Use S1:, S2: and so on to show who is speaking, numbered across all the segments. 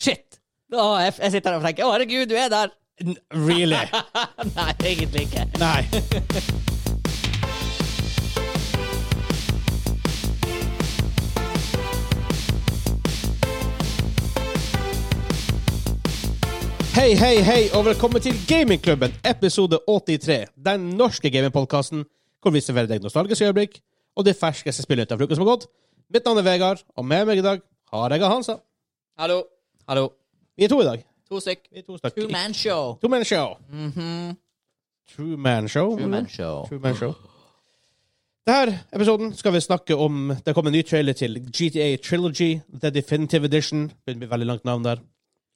S1: Shit! Å, jeg, jeg sitter her og tenker 'Å, herregud, du er der'.
S2: N- Really?
S1: Nei, egentlig ikke.
S2: Nei. Hei, hei, hei, og velkommen til Gamingklubben, episode 83. Den norske gamingpodkasten hvor vi serverer deg nostalgiske øyeblikk og det ferskeste spillet av uka som har gått. Mitt navn er Vegard, og med meg i dag har jeg Hansa.
S1: Hallo. Hallo.
S2: Vi er to i dag.
S1: To stykk.
S2: Vi er to stykker.
S1: Two man show.
S2: Two man show. True man show.
S1: Two man show.
S2: True Man Show. Denne episoden skal vi snakke om Det kom en ny trailer til GTA Trilogy, The Definitive Edition. Begynner å bli veldig langt navn der.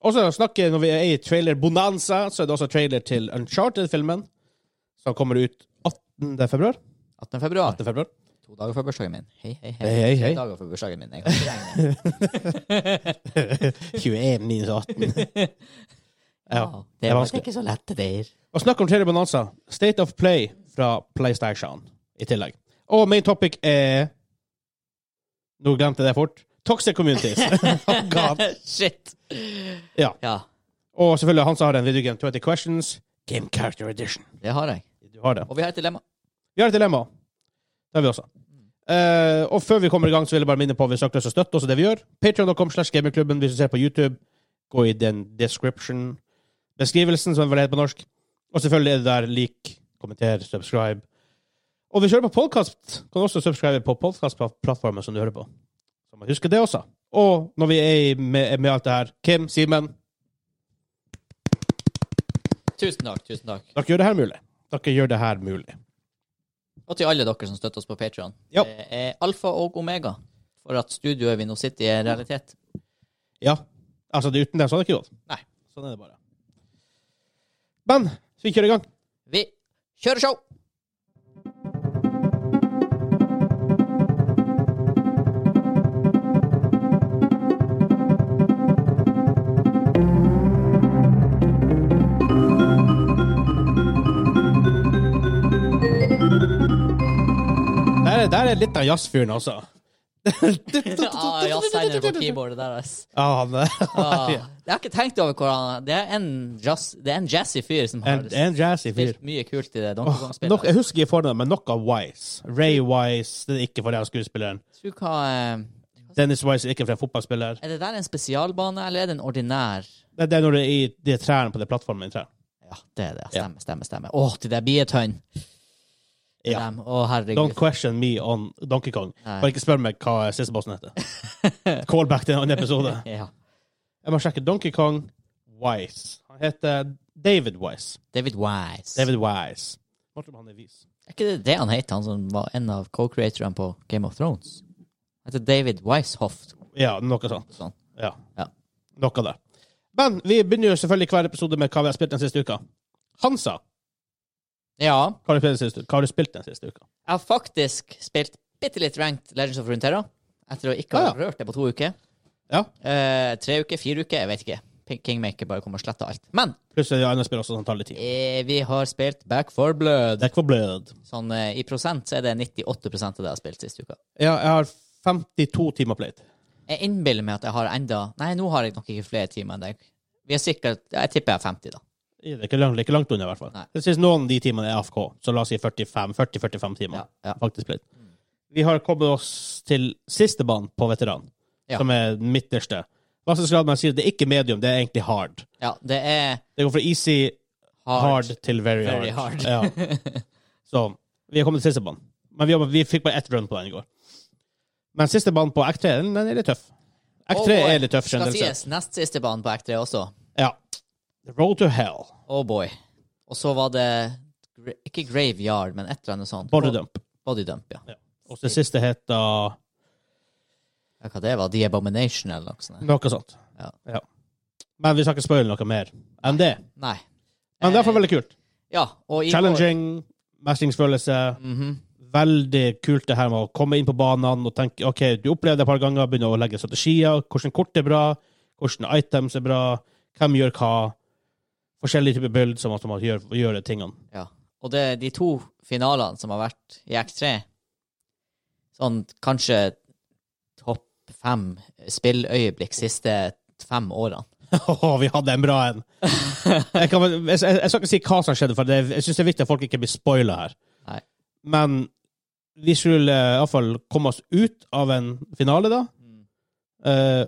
S2: Og så snakke når vi er i trailer Bonanza, så er det også trailer til Uncharted-filmen, som kommer ut 18. februar.
S1: 18. februar.
S2: 18. februar.
S1: To dager før bursdagen min. Hei, hei, hei.
S2: Hei, hei,
S1: Tre
S2: hei.
S1: dager før bursdagen min. Jeg kan ikke regne.
S2: 21 minus 18. ja.
S1: Ja,
S2: det er vanskelig.
S1: Ah, ikke så lette der.
S2: Og snakk om trailer Bonanza. State of Play fra PlayStation i tillegg. Og main topic er Nå glemte jeg det fort. Toxic Communities. oh God.
S1: Shit.
S2: Ja.
S1: Ja,
S2: Og selvfølgelig han som har en video game 20 questions. Game Character Edition.
S1: det har jeg.
S2: Du har det.
S1: Og vi har et dilemma.
S2: Vi har et dilemma. Det har vi også. Eh, og før vi kommer i gang, så vil jeg bare minne på at vi søker oss å støtte oss i det vi gjør. Patreon.com slash gamingklubben hvis du ser på YouTube. Gå i den description beskrivelsen, som vel heter på norsk. Og selvfølgelig er det der lik, kommenter, subscribe. Og hvis du hører på podkast, kan du også subscribe på podkastplattformen som du hører på. Så man husker det også. Og når vi er i- med, med alt det her, Kim, Simen,
S1: Tusen takk, tusen takk.
S2: dere gjør det her mulig. Dere gjør det her mulig.
S1: Og til alle dere som støtter oss på Patreon.
S2: Ja.
S1: Det er alfa og omega for at studioet vi nå sitter i, er realitet.
S2: Ja. Altså, det, uten det så hadde det ikke gått.
S1: Nei.
S2: Sånn er det bare. Men så vi kjører i gang.
S1: Vi kjører show!
S2: Der er, der er litt av jazzfyren, altså.
S1: Ah, ja, sender på keyboardet der, ass.
S2: Ja, han er
S1: Ah, jeg har ikke tenkt over hvordan Det er en, jazz, det er en jazzy fyr som har
S2: en, en jazzy fyr.
S1: spilt mye kult i det Donkey
S2: Åh,
S1: Kong-spillet.
S2: nok, jeg husker ikke fornavnet, men nok av Wise. Ray Wise det er ikke for den skuespilleren.
S1: Tror du hva, eh,
S2: Dennis Wise er ikke for en fotballspiller.
S1: Er det der en spesialbane, eller er det en ordinær
S2: Det det er når det er i de trærne på de plattformene. i trær.
S1: Ja, det er det. Stemmer, stemmer, stemmer. Å, de der bietøyene.
S2: Ja.
S1: Dem. Å, herregud.
S2: Don't question me on Donkey Kong.
S1: Nei.
S2: Bare ikke spør meg hva siste bossen heter. Callback til en annen episode.
S1: Ja.
S2: Jeg må sjekke Donkey Kong Wise. Han heter David Wise.
S1: David Wise.
S2: David Wise. Hva tror du han er vis?
S1: Er ikke det det han heter, han som var en av co-creatorene på Game of Thrones? Han heter David Weishoft.
S2: Ja, noe sånt.
S1: Sånn.
S2: Ja.
S1: Ja.
S2: Noe der. Men vi begynner jo selvfølgelig hver episode med hva vi har spilt den siste uka. Hansa,
S1: Ja.
S2: hva har du spilt den siste, uka? Hva har du spilt den siste uka?
S1: Jeg har faktisk spilt bitte litt ranked Legends of Runeterra. Etter å ikke ha
S2: Ah,
S1: rørt det på to uker.
S2: Ja.
S1: Eh, tre uker, fire uker, jeg vet ikke. Pink- Kingmaker bare kommer og sletter alt. Men
S2: Pluss det er jo andre spill også som tar litt tid.
S1: eh, vi har spilt Back for Blood.
S2: Deck for Blood.
S1: Sånn eh, i prosent så er det 98 av det jeg har spilt sist uka.
S2: Ja, jeg har 52 timer played.
S1: Jeg innbiller meg at jeg har enda Nei, nå har jeg nok ikke flere timer enn deg. Vi er sikkert Jeg tipper jeg er 50, da.
S2: Det er ikke langt, ikke langt unna, i hvert fall.
S1: Nei.
S2: Det synes noen av de timene er AFK, så la oss si 45-45
S1: Ja,
S2: timer.
S1: ja. Mm.
S2: faktisk played. Vi har kommet oss til siste banen på veteran,
S1: Ja.
S2: som er den midterste. Vanskelighetsgraden man sier, det er ikke medium, det er egentlig hard.
S1: Ja, det er
S2: Det går fra easy, hard,
S1: hard.
S2: til very,
S1: Very
S2: hard. Ja. Så vi er kommet til siste banen. Men vi, har- vi fikk bare ett run på den i går. Men siste banen på Act 3, den, den er litt tøff. Act 3
S1: Oh boy.
S2: er litt tøff,
S1: Skal
S2: generelt sett.
S1: sies nest siste banen på Act3 også.
S2: Ja. The road to hell.
S1: Oh boy. Og så var det gra- Ikke Graveyard, men et eller annet sånt.
S2: Body dump.
S1: Body dump, ja.
S2: Og det siste heter
S1: ja. Hva det var? The Abomination, eller noe sånt?
S2: noe sånt.
S1: Ja.
S2: Men vi skal ikke spoile noe mer enn det.
S1: Nei.
S2: Men derfor veldig kult.
S1: Ja, og Eh, i
S2: Challenging, mestringsfølelse.
S1: Går, Mhm.
S2: Veldig kult det her med å komme inn på banene og tenke OK, du opplever det et par ganger, begynner å legge strategier. Hvordan kort er bra, hvordan items er bra, hvem gjør hva. Forskjellige typer build som at man gjør, gjør de tingene.
S1: Ja. Og det, de to finalene som har vært i Act 3 Sånn kanskje topp fem spilløyeblikk siste fem årene.
S2: Åh, vi hadde en bra en! Jeg, kan, vel- jeg, jeg, jeg skal ikke si hva som skjedde, for det, jeg syns det er viktig at folk ikke blir spoila her.
S1: Nei.
S2: Men vi skulle iallfall komme oss ut av en finale, da.
S1: Mm.
S2: Eh,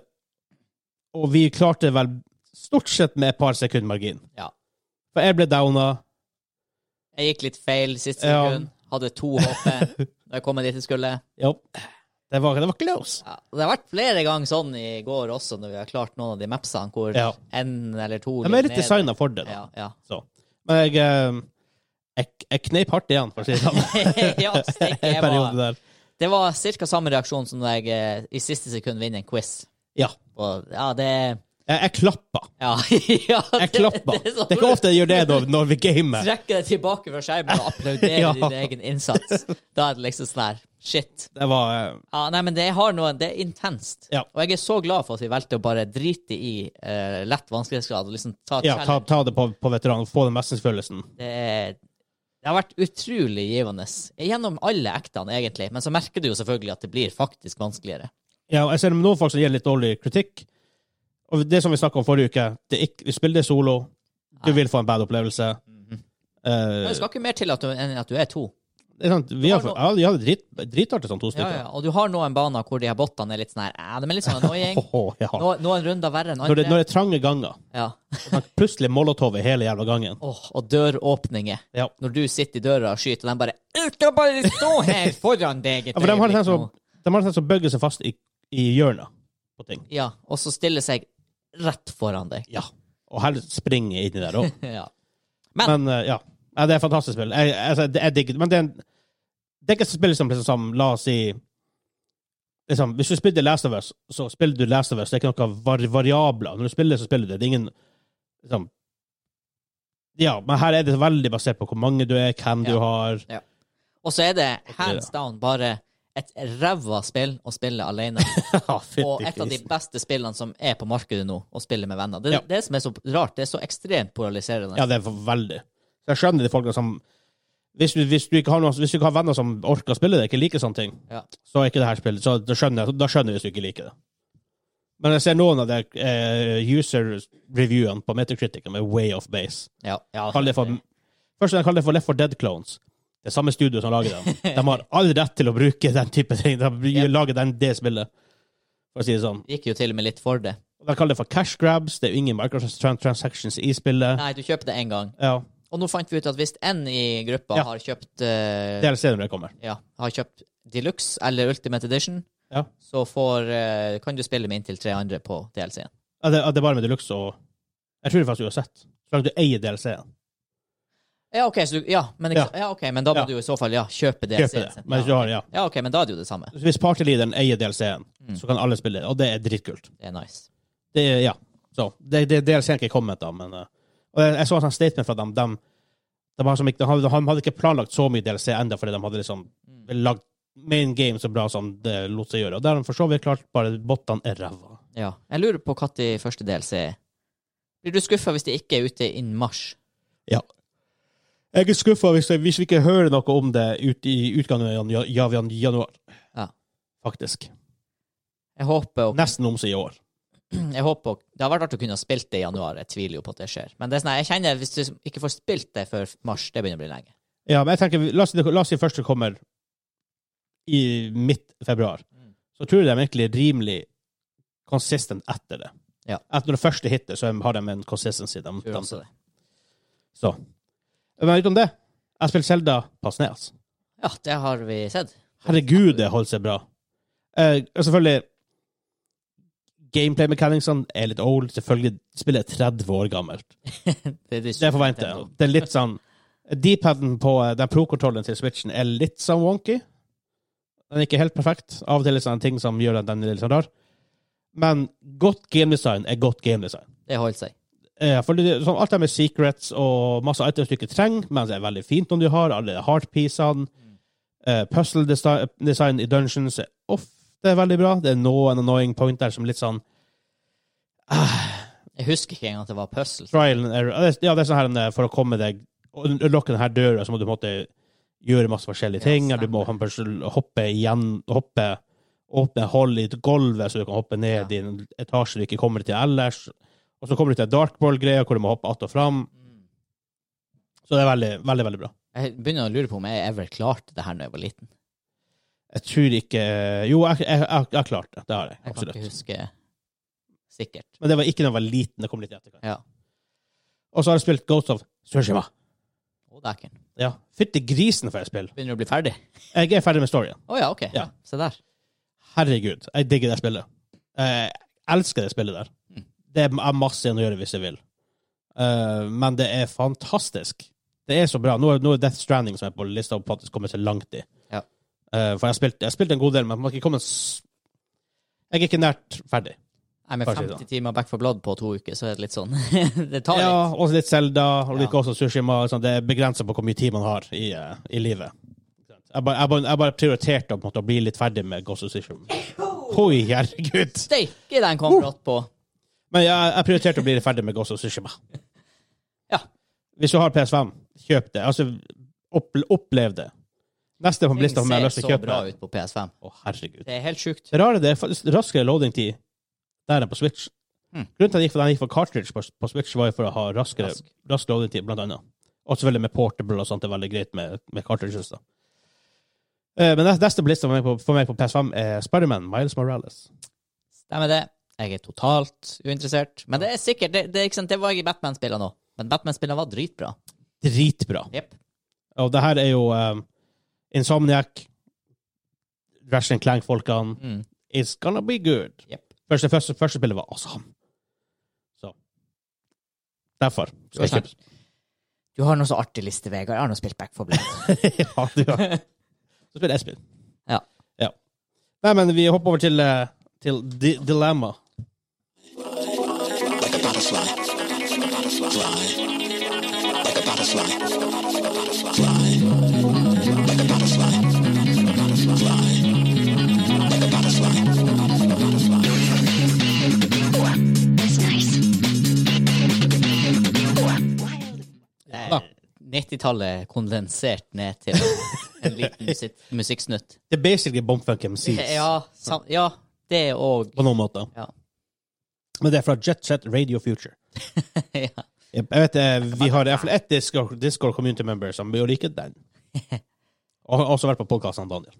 S2: og vi klarte vel stort sett med et par sekund margin.
S1: Ja.
S2: For jeg ble downa.
S1: Jeg gikk litt feil siste
S2: Ja.
S1: sekund. Hadde to HP da jeg kom meg dit jeg skulle.
S2: Jo. Det var, det var close.
S1: Ja, det har vært flere ganger sånn i går også, når vi har klart noen av de mapsene, hvor
S2: Ja.
S1: en eller to
S2: De er litt designa for det, da.
S1: Ja, ja.
S2: Så. Men jeg, eh, jeg, jeg kneip hardt igjen, for å si det sånn.
S1: ja, steik,
S2: En
S1: jeg
S2: periode
S1: var,
S2: der.
S1: det var ca. samme reaksjon som når jeg eh, i siste sekund vinner en quiz.
S2: Ja.
S1: Og, ja, det
S2: Jeg, jeg klappa.
S1: Ja. ja
S2: Jeg klappa.
S1: Det, sånn det,
S2: Det er ikke ofte jeg gjør det når, når vi gamer.
S1: Trekke deg tilbake fra skjermen og applaudere
S2: Ja.
S1: din egen innsats. Da er det liksom sånn her Shit.
S2: Det var eh,
S1: Ja, nei, men det har noe Det er intenst.
S2: Ja.
S1: Og jeg er så glad for at vi valgte å bare drite i eh, lett vanskelighetsgrad og liksom ta
S2: Ja, ta, ta det på, på veteran. Få den mestringsfølelsen.
S1: det, er- det har vært utrolig givende gjennom alle ektene, egentlig. Men så merker du jo selvfølgelig at det blir faktisk vanskeligere.
S2: Ja, og jeg ser noen folk som gir litt dårlig kritikk. Og det som vi snakka om forrige uke, det er ikke, vi spiller det solo. Du
S1: Nei.
S2: vil få en bad opplevelse. Eh,
S1: Men Det skal ikke mer til at du, enn at du er to.
S2: det er sant, vi har,
S1: Det var
S2: ja, de hadde drit, dritartig sånn to
S1: Ja,
S2: stykker.
S1: ja. Og du har noen baner hvor de her bottene er litt sånn her eh, De er litt sånn annoying.
S2: Åhå, ja.
S1: Nå, noen runder verre enn
S2: Når, det, når
S1: andre.
S2: det er trange ganger,
S1: Ja.
S2: og man plutselig molotov i hele jævla gangen.
S1: Åh, og døråpninger.
S2: Ja.
S1: Når du sitter i døra og skyter, og de bare 'Ut og bare stå her foran deg!' liksom.» et
S2: Ja, for de har
S1: øyeblikk
S2: en sånn
S1: nå.»
S2: som- de har en sånn som bøgger seg fast i, i hjørnet på ting.
S1: Ja, og så stille seg rett foran deg.
S2: Ja. Og helst springer inni der òg.
S1: Ja.
S2: Men eh, ja. ja, det er et fantastisk spill. Jeg, altså, det- jeg digger det. Men det er, en, det er ikke et spill som liksom, som, la oss si liksom, Hvis du spiller Last of Us, så spiller du Last of Us. Det er ikke noen var variabler. Når du spiller, så spiller du. Det er ingen liksom, Ja, men her er det veldig basert på hvor mange du er, hvem du
S1: Ja.
S2: har.
S1: Og så er det hands down bare et ræva spill å spille alene.
S2: Ja, fytti
S1: Og et av de
S2: grisen.
S1: beste spillene som er på markedet nå, å spille med venner. Det er
S2: Ja.
S1: det som er så rart. Det er så ekstremt polariserende.
S2: Ja, det er veldig. Så jeg skjønner de folkene som hvis du, hvis, du ikke har noen, hvis du ikke har venner som orker å spille det, ikke liker sånne ting,
S1: Ja.
S2: så er ikke det her spillet. Så da skjønner jeg da skjønner jeg hvis du ikke liker det. Men jeg ser noen av de eh, user-reviewene på Metacritic er way off base.
S1: Ja, ja.
S2: Kaller det for, først jeg kaller det for Left 4 Dead Clones. Det er samme studio som lager dem. De har all rett til å bruke den type ting. De
S1: Yep.
S2: lager den, det spillet, for å si det sånn.
S1: Gikk jo til og med litt for det.
S2: De kaller det for cash grabs. Det er jo ingen microtransactions i spillet.
S1: Nei, du kjøper det én gang.
S2: Ja,
S1: Og nå fant vi ut at hvis en i gruppa
S2: Ja.
S1: har kjøpt eh,
S2: det er stedet når det kommer.
S1: ja, har kjøpt Deluxe eller Ultimate Edition,
S2: Ja.
S1: så får, eh, kan du spille med inntil tre andre på DLC-en.
S2: Ja, det, ja, det er bare med Deluxe og Jeg tror det faktisk uansett. Så lenge du eier DLC-en.
S1: Ja, OK, så, du- ja, men, ikke, ja, ok, men da må
S2: Ja.
S1: du jo i så fall ja, kjøpe
S2: Kjøper
S1: DLC-en.
S2: det.
S1: sin.
S2: Men hvis du
S1: Ja.
S2: har, ja.
S1: ja, OK, men da er det jo det samme.
S2: Så Hvis partyleaderen eier DLC-en,
S1: Mm.
S2: så kan alle spille det, og det er dritkult.
S1: Det er nice.
S2: Det er, ja. Så, det, det, DLC-en er ikke kommet, da, men eh, og jeg, jeg så en sånn statement fra dem. De, de, har som ikke, de, hadde, de hadde ikke planlagt så mye DLC ennå, fordi de hadde liksom
S1: Mm.
S2: lagd main game så bra som det lot seg gjøre. Og der har de for så vidt klart bare bottene er ræva.
S1: Ja. Jeg lurer på når første DLC er. Blir du skuffa hvis det ikke er ute innen mars?
S2: Ja. Jeg er skuffa hvis, hvis vi ikke hører noe om det ut, i utgangen av jan- jan- januar.
S1: Ja.
S2: Faktisk.
S1: Jeg håper, å-
S2: Nesten om seg i år.
S1: jeg håper å- Det har vært artig å kunne ha spilt det i januar. Jeg tviler jo på at det skjer. Men det er sånn, her, jeg kjenner hvis du ikke får spilt det før mars, det begynner å bli lenge.
S2: Ja, men jeg tenker, La oss si, la oss si først det kommer i midt februar.
S1: Mm.
S2: Så tror jeg de er egentlig rimelig consistent etter det.
S1: Ja.
S2: Etter når det første hitter, så har de en consistency. De,
S1: Tror
S2: de,
S1: også det.
S2: så. Men utenom det, jeg spilte Selda Pasnes.
S1: Ja, det har vi sett.
S2: Herregud, det holdt seg bra. Eh, og selvfølgelig Gameplay mechanicsene er litt old. Selvfølgelig spillet er 30 år gammelt.
S1: Det, det,
S2: Det forventer jeg. Det er litt sånn Deepheaden på eh, den pro-kontrollen til Switchen er litt sånn wonky. Den er ikke helt perfekt. Av og til er det sånne ting som gjør at den er litt sånn rar. Men godt gamedesign er godt gamedesign.
S1: Det holder seg.
S2: Eh, for det, sånn, alt det med secrets og masse items du ikke trenger, men det er veldig fint om du har alle heartpiecene. Eh, puzzle desi- design i dungeons er ofte veldig bra. Det er noen annoying point der som litt sånn
S1: Jeg husker ikke engang at det var puzzle.
S2: trial and error. Det er- Ja, det er sånn her eh, for å komme deg og lukke denne døra, så må du på en måte gjøre masse
S1: Ja,
S2: forskjellige ting. eller du må hoppe igjen, hoppe åpne hull i gulvet, så du kan hoppe ned i en etasje du ikke kommer til ellers. Og så kommer du til darkball-greia, hvor du må hoppe att og fram. Så det er veldig, veldig, veldig bra.
S1: Jeg begynner å lure på om jeg ever klarte det her da jeg var liten.
S2: Jeg tror ikke Jo, jeg, jeg, jeg, jeg har klart det. Det har jeg.
S1: Jeg kan
S2: Absolutt.
S1: ikke huske sikkert.
S2: Men det var ikke da jeg var liten. Det kom litt i etterkant.
S1: Ja.
S2: Og så har jeg spilt Ghost of Tsushima.
S1: Å, dæken.
S2: Ja. Fytti grisen for et spill.
S1: Begynner å bli ferdig.
S2: Jeg er ferdig med storyen.
S1: Å ja, OK.
S2: Ja.
S1: Ja. Se der.
S2: Herregud, jeg digger det spillet. Jeg elsker det spillet der.
S1: Mm.
S2: Det er masse igjen å gjøre hvis jeg vil. Eh, men det er fantastisk. Det er så bra. Nå er, nå er Death Stranding som er på lista og faktisk kommer seg langt i.
S1: Ja.
S2: Eh, for jeg har spilt, jeg har spilt en god del, men man har ikke kommet s- Jeg er ikke nært ferdig.
S1: Nei, med
S2: Kanskje
S1: 50 timer Back for Blood på to uker, så er det litt sånn Det tar litt.
S2: Ja, og litt Zelda, og litt
S1: Ja.
S2: også Sushima. Sånn, det er begrenset på hvor mye tid man har i, eh, i livet. Jeg bare, jeg bare, jeg bare prioriterte å på en måte å bli litt ferdig med Ghost of Sushima. Oi, herregud!
S1: Steike, den kom brått på.
S2: Men jeg, jeg prioriterte å bli ferdig med Ghost of Tsushima.
S1: Ja.
S2: Hvis du har PS5, kjøp det. Altså, opp, opplev det. Neste på
S1: Ting
S2: lista om jeg
S1: ser
S2: har lyst til å
S1: så
S2: kjøpe
S1: bra
S2: det.
S1: ut på PS5.
S2: Å, herregud.
S1: Det er helt sjukt.
S2: Det rare det er faktisk raskere loading-tid der enn på Switch.
S1: Mm.
S2: Grunnen til at jeg gikk for, den gikk for cartridge på, på Switch, var jo for å ha raskere
S1: Rask.
S2: rask, loading-tid, blant annet. Og selvfølgelig med portable og sånt, det er veldig greit med, med cartridges. da. Eh, Men neste- neste på lista for meg på, for meg på PS5 er Spiderman Miles Morales.
S1: Stemmer det. Jeg er totalt uinteressert. Men det er sikkert Det, det, er ikke sant, det var jeg i Batman-spillene nå Men Batman-spillene var dritbra.
S2: Dritbra.
S1: Jep.
S2: Og det her er jo um, Insomniac, Ratchet and Clank-folkene.
S1: Mm.
S2: It's gonna be good.
S1: Jep.
S2: Første, første, første spillet var awesome. Så Derfor. Skal jeg kjøpe.
S1: Du har noe så artig liste, Vegard. Jeg har nå spilt Back for Blood.
S2: ja, du har. Så spiller jeg spill.
S1: Ja.
S2: ja. Nei, men vi hopper over til, eh, til Di Dilemma.
S1: Eh, 90-tallet kondensert ned til en liten musikk, musikksnutt.
S2: Det er basically Bombfunk MCs
S1: Ja, sam, ja, det òg.
S2: på noen måter.
S1: Ja.
S2: Men det er fra Jet Set Radio Future.
S1: ja.
S2: Jeg vet, eh, vi har i hvert fall ett Discord, Discord community member som bør like den. Og har også vært på podkasten, Daniel.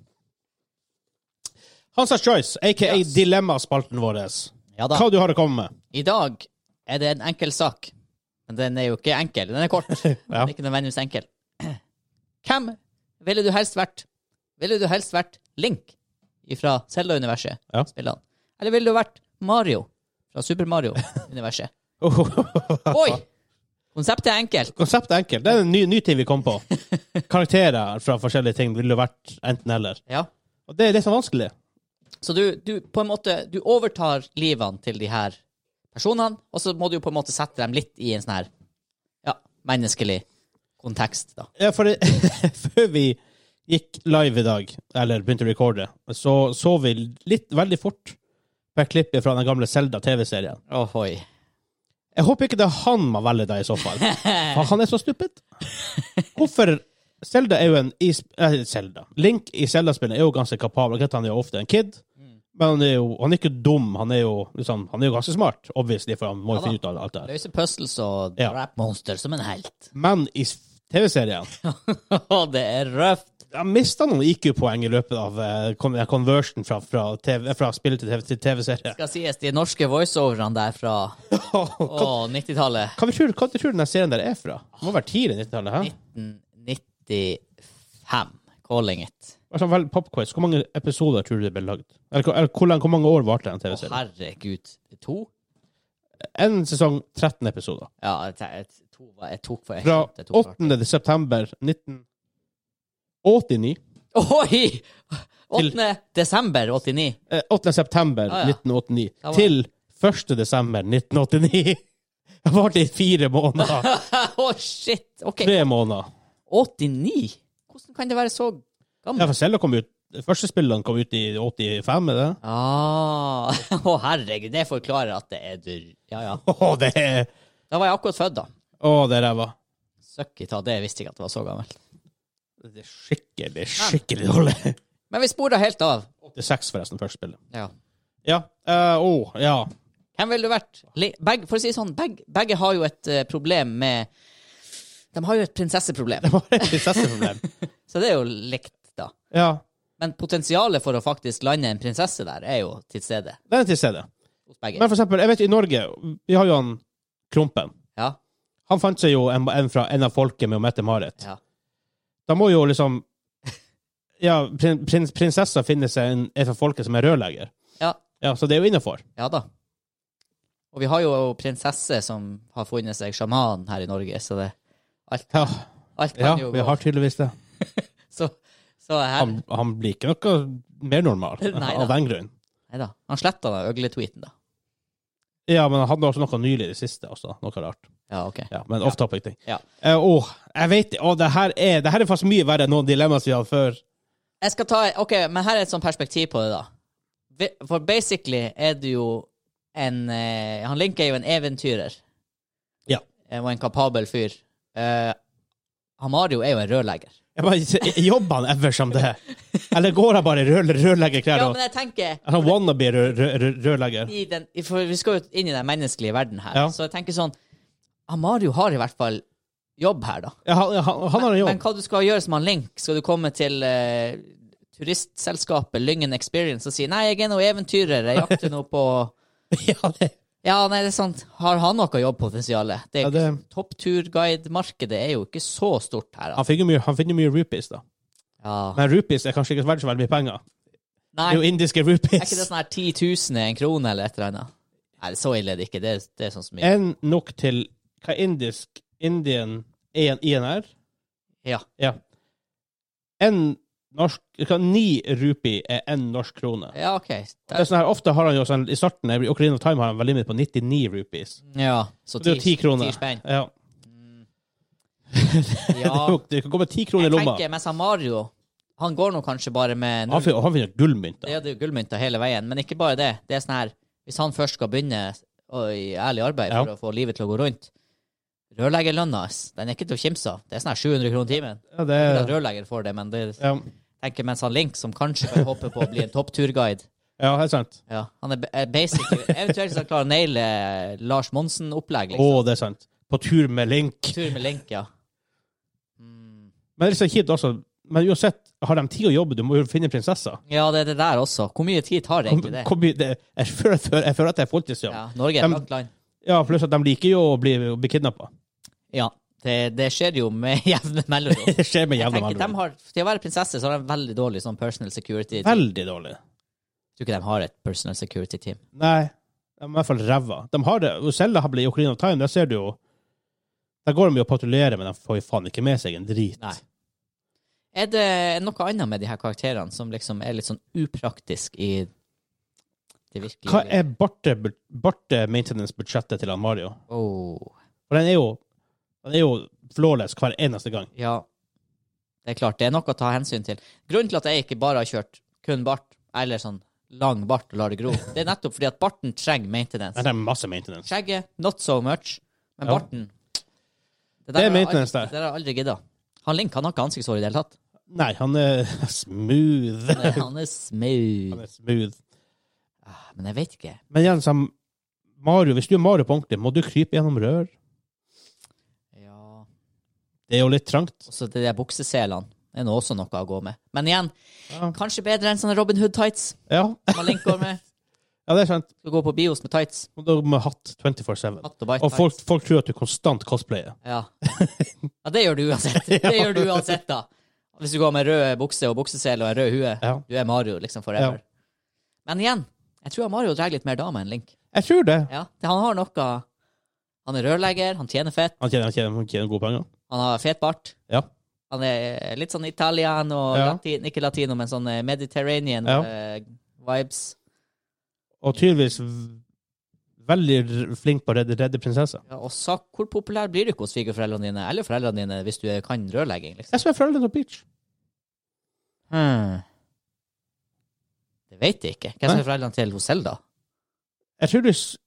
S2: Hansa Choice, aka
S1: Yes.
S2: Dilemmaspalten vår.
S1: ja da.
S2: Hva du har å komme med?
S1: I dag er det en enkel sak. Men den er jo ikke enkel. Den er kort.
S2: Ja.
S1: Men Ikke nødvendigvis enkel. Hvem ville du helst vært? Ville du helst vært Link fra Zelda-universet?
S2: Ja.
S1: Spillene. Eller ville du vært Mario fra Super Mario-universet? Oi! Konseptet er enkelt.
S2: Konseptet er enkelt. Det er en ny, ny ting vi kom på. Karakterer fra forskjellige ting ville vært enten-eller.
S1: Ja.
S2: Og Det er det som er vanskelig.
S1: Så du, du på en måte du overtar livene til de her personene, og så må du jo på en måte sette dem litt i en sånn her ja, menneskelig kontekst, da.
S2: Ja, for det, før vi gikk live i dag, eller begynte å recorde, så så vi litt veldig fort på et klipp fra den gamle Selda-TV-serien.
S1: Ohoi.
S2: Jeg håper ikke det er han man velger deg i så fall. For han er så stupid. Hvorfor Selda er jo en i, eh, Zelda. Link i Selda-spillet er jo ganske kapabel. Greit, han er jo ofte en kid,
S1: Mm.
S2: men han er jo han er ikke dum. Han er jo, liksom, han er jo ganske smart, obviously, for han må
S1: Ja
S2: jo
S1: da.
S2: finne ut av alt det her.
S1: Løse puzzles og
S2: Ja.
S1: drepe monster som en helt.
S2: Men i s- TV-serien
S1: Å, det er røft!
S2: Jeg mista noen IQ-poeng i løpet av eh, kon- conversion fra, fra, TV, fra spill til TV- til TV-serie.
S1: Skal sies, de norske voiceoverne der fra
S2: Hva
S1: å, 90-tallet.
S2: hva vi tror hva vi tror den serien der er fra? Det må være tidlig 90-tallet? hæ?
S1: 1995. Calling it.
S2: Altså, vel, Popquiz, hvor mange episoder tror du det ble lagd? Eller, hvor- eller hvor, lang- hvor mange år varte den
S1: Å,
S2: TV-serien?
S1: herregud. To?
S2: En sesong, 13 episoder.
S1: Ja, jeg, te- jeg, to, var- jeg tok for jeg
S2: Fra
S1: kjøpte to for-
S2: 8. september 1989
S1: Oi!
S2: Til-
S1: 8. desember 89.
S2: eh, 8. september
S1: Ah, ja.
S2: 1989
S1: Da var-
S2: til 1. desember 1989. Det varte i fire måneder.
S1: Å, shit! OK.
S2: Tre måneder.
S1: 89? Hvordan kan det være så
S2: Ja,
S1: gammelt?
S2: for Selda kom ut de Første spillene kom ut i 85, er det?
S1: Ah, Å, herregud. Det forklarer at det er dyr. Ja, ja.
S2: Å, det er
S1: Da var jeg akkurat født, da.
S2: Å, det er ræva.
S1: Søkk i ta, det visste jeg ikke at det var så gammelt.
S2: Det er skikkelig, skikkelig dårlig.
S1: Men vi spora helt av.
S2: 86, forresten, første spillet.
S1: Ja.
S2: Ja. eh, Å, ja.
S1: Hvem ville du vært? Le- Begge, for å si det sånn, begge, begge har jo et eh, problem med De har jo et prinsesseproblem,
S2: Det var et prinsesseproblem.
S1: så det er jo likt, da.
S2: Ja,
S1: Men potensialet for å faktisk lande en prinsesse der, er jo til stede
S2: den er til stede.
S1: hos begge.
S2: Men for eksempel, jeg vet i Norge, vi har jo han Krompen.
S1: Ja,
S2: Han fant seg jo en, en fra en av folket med å mette Marit.
S1: ja.
S2: Da må jo liksom Ja, prin, prins, prinsessa finner seg en, en fra folket som er rørlegger.
S1: Ja,
S2: Ja, så det er jo innafor.
S1: ja da. Og vi har jo prinsesse som har funnet seg sjaman her i Norge, så det Alt,
S2: Ja,
S1: alt
S2: ja,
S1: kan jo
S2: vi
S1: gå.
S2: har tydeligvis det.
S1: Så, så her
S2: Han, han blir ikke noe mer normal
S1: Nei da.
S2: av den grunn.
S1: Nei da. Han sletta da øgletweeten, da.
S2: Ja, men han hadde også noe nylig i det siste også. Noe rart.
S1: Ja, OK.
S2: Ja, men off topic-ting.
S1: Ja.
S2: Eh, åh, jeg vet Åh, det her er Det her er faktisk mye verre enn noen dilemmaer vi hadde før.
S1: Jeg skal ta Ok, men her er et sånt perspektiv på det, da. Vi- For basically er du jo en eh, Han Link er jo en eventyrer.
S2: Ja.
S1: Eh, Og en kapabel fyr. Eh, Han Mario er jo en rørlegger.
S2: Jeg bare, Jobber han ever som det? Eller går han bare i rør, rørleggerklær?
S1: Ja,
S2: og-
S1: men jeg tenker
S2: Er han wannabe rør, rør, rør, rørlegger?
S1: i den, i- For vi skal jo inn i den menneskelige verden her.
S2: Ja.
S1: Så jeg tenker sånn han Mario har i hvert fall jobb her, da.
S2: Ja, han, han, han har en
S1: Men
S2: jobb.
S1: hva du skal gjøre som han Link? Skal du komme til eh, turistselskapet Lyngen Experience og si 'nei, jeg er nå eventyrer, jeg jakter nå på'
S2: Ja, det,
S1: Ja, nei, det er sant. Har han noe jobbpotensial? Det er
S2: ja, det,
S1: Toppturguide-markedet er jo ikke så stort her.
S2: han
S1: Altså.
S2: finner jo mye, han finner mye rupees, da.
S1: Ja.
S2: Men rupees er kanskje ikke verdt så veldig mye penger.
S1: Nei,
S2: Det er jo indiske
S1: er ikke det
S2: rupees.
S1: sånn her 10 000 er en krone eller et eller annet? Nei, så ille er det ikke. Det er, det er sånn som
S2: Enn nok til hva indisk Indian er en INR?
S1: Ja.
S2: Ja. En norsk hva, Ni rupi er én norsk krone.
S1: ja, OK.
S2: Det
S1: Der,
S2: er sånn her, ofte har han jo sånn, I starten i Ocarina of Time har han vel limit på 99 rupees.
S1: ja, så
S2: Det er jo 10 kroner.
S1: spenn.
S2: Ja.
S1: Ja.
S2: Det er jo- Det kan gå med 10 kroner i
S1: Jeg
S2: lomma.
S1: tenker, mens han Mario Han går nå kanskje bare med null.
S2: Han finner, han finner gullmynter.
S1: Ja, det er jo gullmynter hele veien, men ikke bare det. Det er sånn her Hvis han først skal begynne å- i ærlig arbeid
S2: Ja.
S1: for å få livet til å gå rundt Rørleggerlønna hans, den er ikke til å kimse av. Det er sånn her 700 kroner timen.
S2: Ja,
S1: Ikke
S2: det,
S1: at rørlegger får det, men det
S2: ja.
S1: tenker mens han Link, som kanskje kan håpe på å bli en toppturguide
S2: ja, helt sant.
S1: ja, Han er ba- er basically Eventuelt skal han klare å naile Lars Monsen-opplegg.
S2: Å,
S1: Liksom.
S2: det er sant. På tur med Link.
S1: Tur med Link, ja. Mm.
S2: Men det er så kjipt også. Men uansett, har de tid å jobbe? Du må jo finne prinsessa.
S1: Ja, det er det der også. Hvor mye tid tar det
S2: Kom,
S1: egentlig det?
S2: kom, i- det jeg, føler, jeg føler- jeg føler at det er fulltidsjobb. Ja.
S1: Ja, Norge er
S2: Em,
S1: et langt land.
S2: pluss at de liker jo å bli, å bli kidnappa.
S1: Ja, det, det skjer jo med jevne mellomrom.
S2: Det skjer med
S1: Jeg
S2: jevne
S1: tenker de
S2: mellomrom.
S1: har, Til å være prinsesse så har de veldig dårlig sånn personal security. Jeg
S2: Veldig dårlig.
S1: tror ikke de har et personal security team.
S2: Nei, de er i hvert fall ræva. De har det. og Selv har blitt Ocarina of Time, der ser du jo Der går de jo og patruljerer, men de får jo faen ikke med seg en drit.
S1: Nei. Er det noe annet med de her karakterene som liksom er litt sånn upraktisk i det virkelige?
S2: Hva er barte- barte-maintenance-budsjettet til han Mario?
S1: Åh.
S2: For den er jo Den er jo flawless hver eneste gang.
S1: Ja. Det er klart, det er noe å ta hensyn til. Grunnen til at jeg ikke bare har kjørt kun bart, eller sånn lang bart og lar det gro, det er nettopp fordi at barten trenger
S2: Men
S1: maintenance.
S2: det er masse maintenance.
S1: Skjegget, not so much, men
S2: Ja.
S1: barten Det,
S2: er
S1: har jeg
S2: maintenance
S1: aldri-
S2: der.
S1: Det der har jeg aldri gidda. Han Link han har ikke ansiktshår i det hele tatt.
S2: Nei, han er smooth.
S1: Han er- Han er smooth.
S2: Han er smooth.
S1: Ah, Men jeg vet ikke.
S2: Men igjen, som Mario, hvis du er Mario på ordentlig, må du krype gjennom rør.
S1: Ja
S2: Det er jo litt trangt.
S1: Også de der bukseselene er nå også noe å gå med. Men igjen,
S2: Ja,
S1: kanskje bedre enn sånne Robin Hood-tights
S2: ja.
S1: som han Link går med.
S2: ja det er sant.
S1: Skal gå på bios med tights.
S2: Og da må du ha hatt 24-7.
S1: Hatt og bite
S2: Og folk,
S1: tights.
S2: folk tror at du konstant cosplayer.
S1: Ja. ja, det gjør du uansett. Det gjør du uansett, da. Hvis du går med rød bukse og buksesel og en rød hue.
S2: Ja.
S1: Du er Mario liksom forever.
S2: Ja.
S1: Men igjen, jeg tror Mario drar litt mer dame enn Link.
S2: Jeg tror det.
S1: Ja, det- Han har noe Han er rørlegger, han tjener fett,
S2: Han tjener, han tjener, han tjener gode penger.
S1: han har fet bart.
S2: Ja.
S1: Han er litt sånn Italian og
S2: Ja.
S1: latin, ikke latino, men sånn eh, Mediterranean
S2: Ja.
S1: eh, vibes.
S2: Og tydeligvis v- veldig r- flink på å redde, redde prinsesser.
S1: Ja, og så, hvor populær blir du ikke hos svigerforeldrene dine, eller foreldrene dine, hvis du kan rørlegging, liksom?
S2: Jeg som er foreldrene til Peach.
S1: Hmm. Det vet jeg ikke. Hvem som er foreldrene til hos Selda?
S2: Jeg tror du s-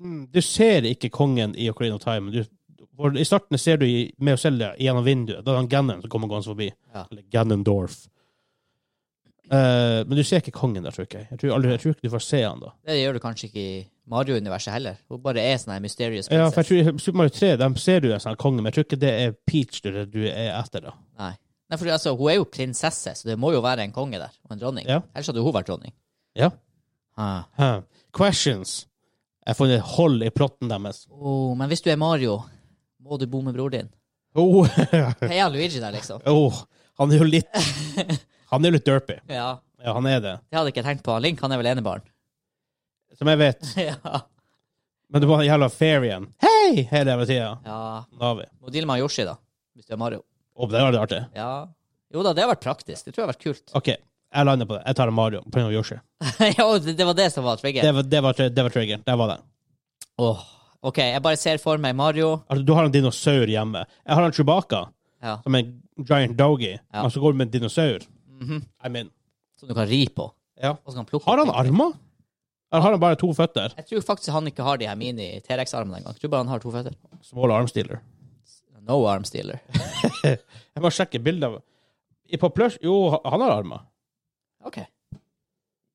S2: mm, Du ser ikke kongen i Ocarina of Time. Du, for I starten ser du i- med Oselia gjennom vinduet. Da er det han Gannon som kommer gående forbi.
S1: Ja.
S2: Eller Ganondorf. Eh, men du ser ikke kongen der, tror jeg. Jeg tror, aldri, jeg tror ikke du får se han da.
S1: Det gjør du kanskje ikke i Mario-universet heller. Hun bare er sånn her mysterious
S2: Ja,
S1: princess.
S2: for jeg tror i Super Mario 3 de ser du en sånn konge, men jeg tror ikke det er Peach du, du er etter, da.
S1: Nei. Nei, for altså, hun er jo prinsesse, så det må jo være en konge der, og en dronning.
S2: Ja.
S1: Ellers hadde hun vært dronning.
S2: Ja.
S1: Ah.
S2: Hæ. Questions. Jeg har funnet hold i plotten deres.
S1: Oh, men hvis du er Mario, må du bo med bror din.
S2: Oh,
S1: Heia Luigi der, liksom.
S2: oh, han er jo litt Han er jo litt derpy.
S1: Ja,
S2: Ja, han er det.
S1: Det hadde jeg ikke tenkt på. Link han er vel enebarn.
S2: Som jeg vet.
S1: ja.
S2: Men det var en jævla fair igjen. Hei! Hele jævla tida.
S1: ja.
S2: Navi.
S1: Må deale med Yoshi, da. Hvis du er Mario.
S2: Å, det var det artig.
S1: Ja. Jo da, det har vært praktisk. Det tror jeg har vært kult.
S2: OK, jeg lander på det. Jeg tar Mario på grunn av Yoshi.
S1: ja, det, det var det som var
S2: Det
S1: triggeren.
S2: var, det var, tri- det var triggeren. Der var det.
S1: Åh. OK, jeg bare ser for meg Mario.
S2: Altså, du har en dinosaur hjemme. Jeg har en Chewbacca,
S1: Ja.
S2: som er en giant doggy,
S1: Ja.
S2: men så går du med en dinosaur. I mean.
S1: Mhm. Som du kan ri på.
S2: Ja.
S1: Og så kan plukke
S2: Har han
S1: opp ting.
S2: armer? Eller har han bare to føtter?
S1: Jeg tror faktisk han ikke har de her mini-T-rex-armene engang. Jeg tror bare han har to føtter.
S2: Small arm stealer.
S1: No arm stealer.
S2: Jeg må sjekke bildet av I- På plush Jo, han har armer.
S1: OK.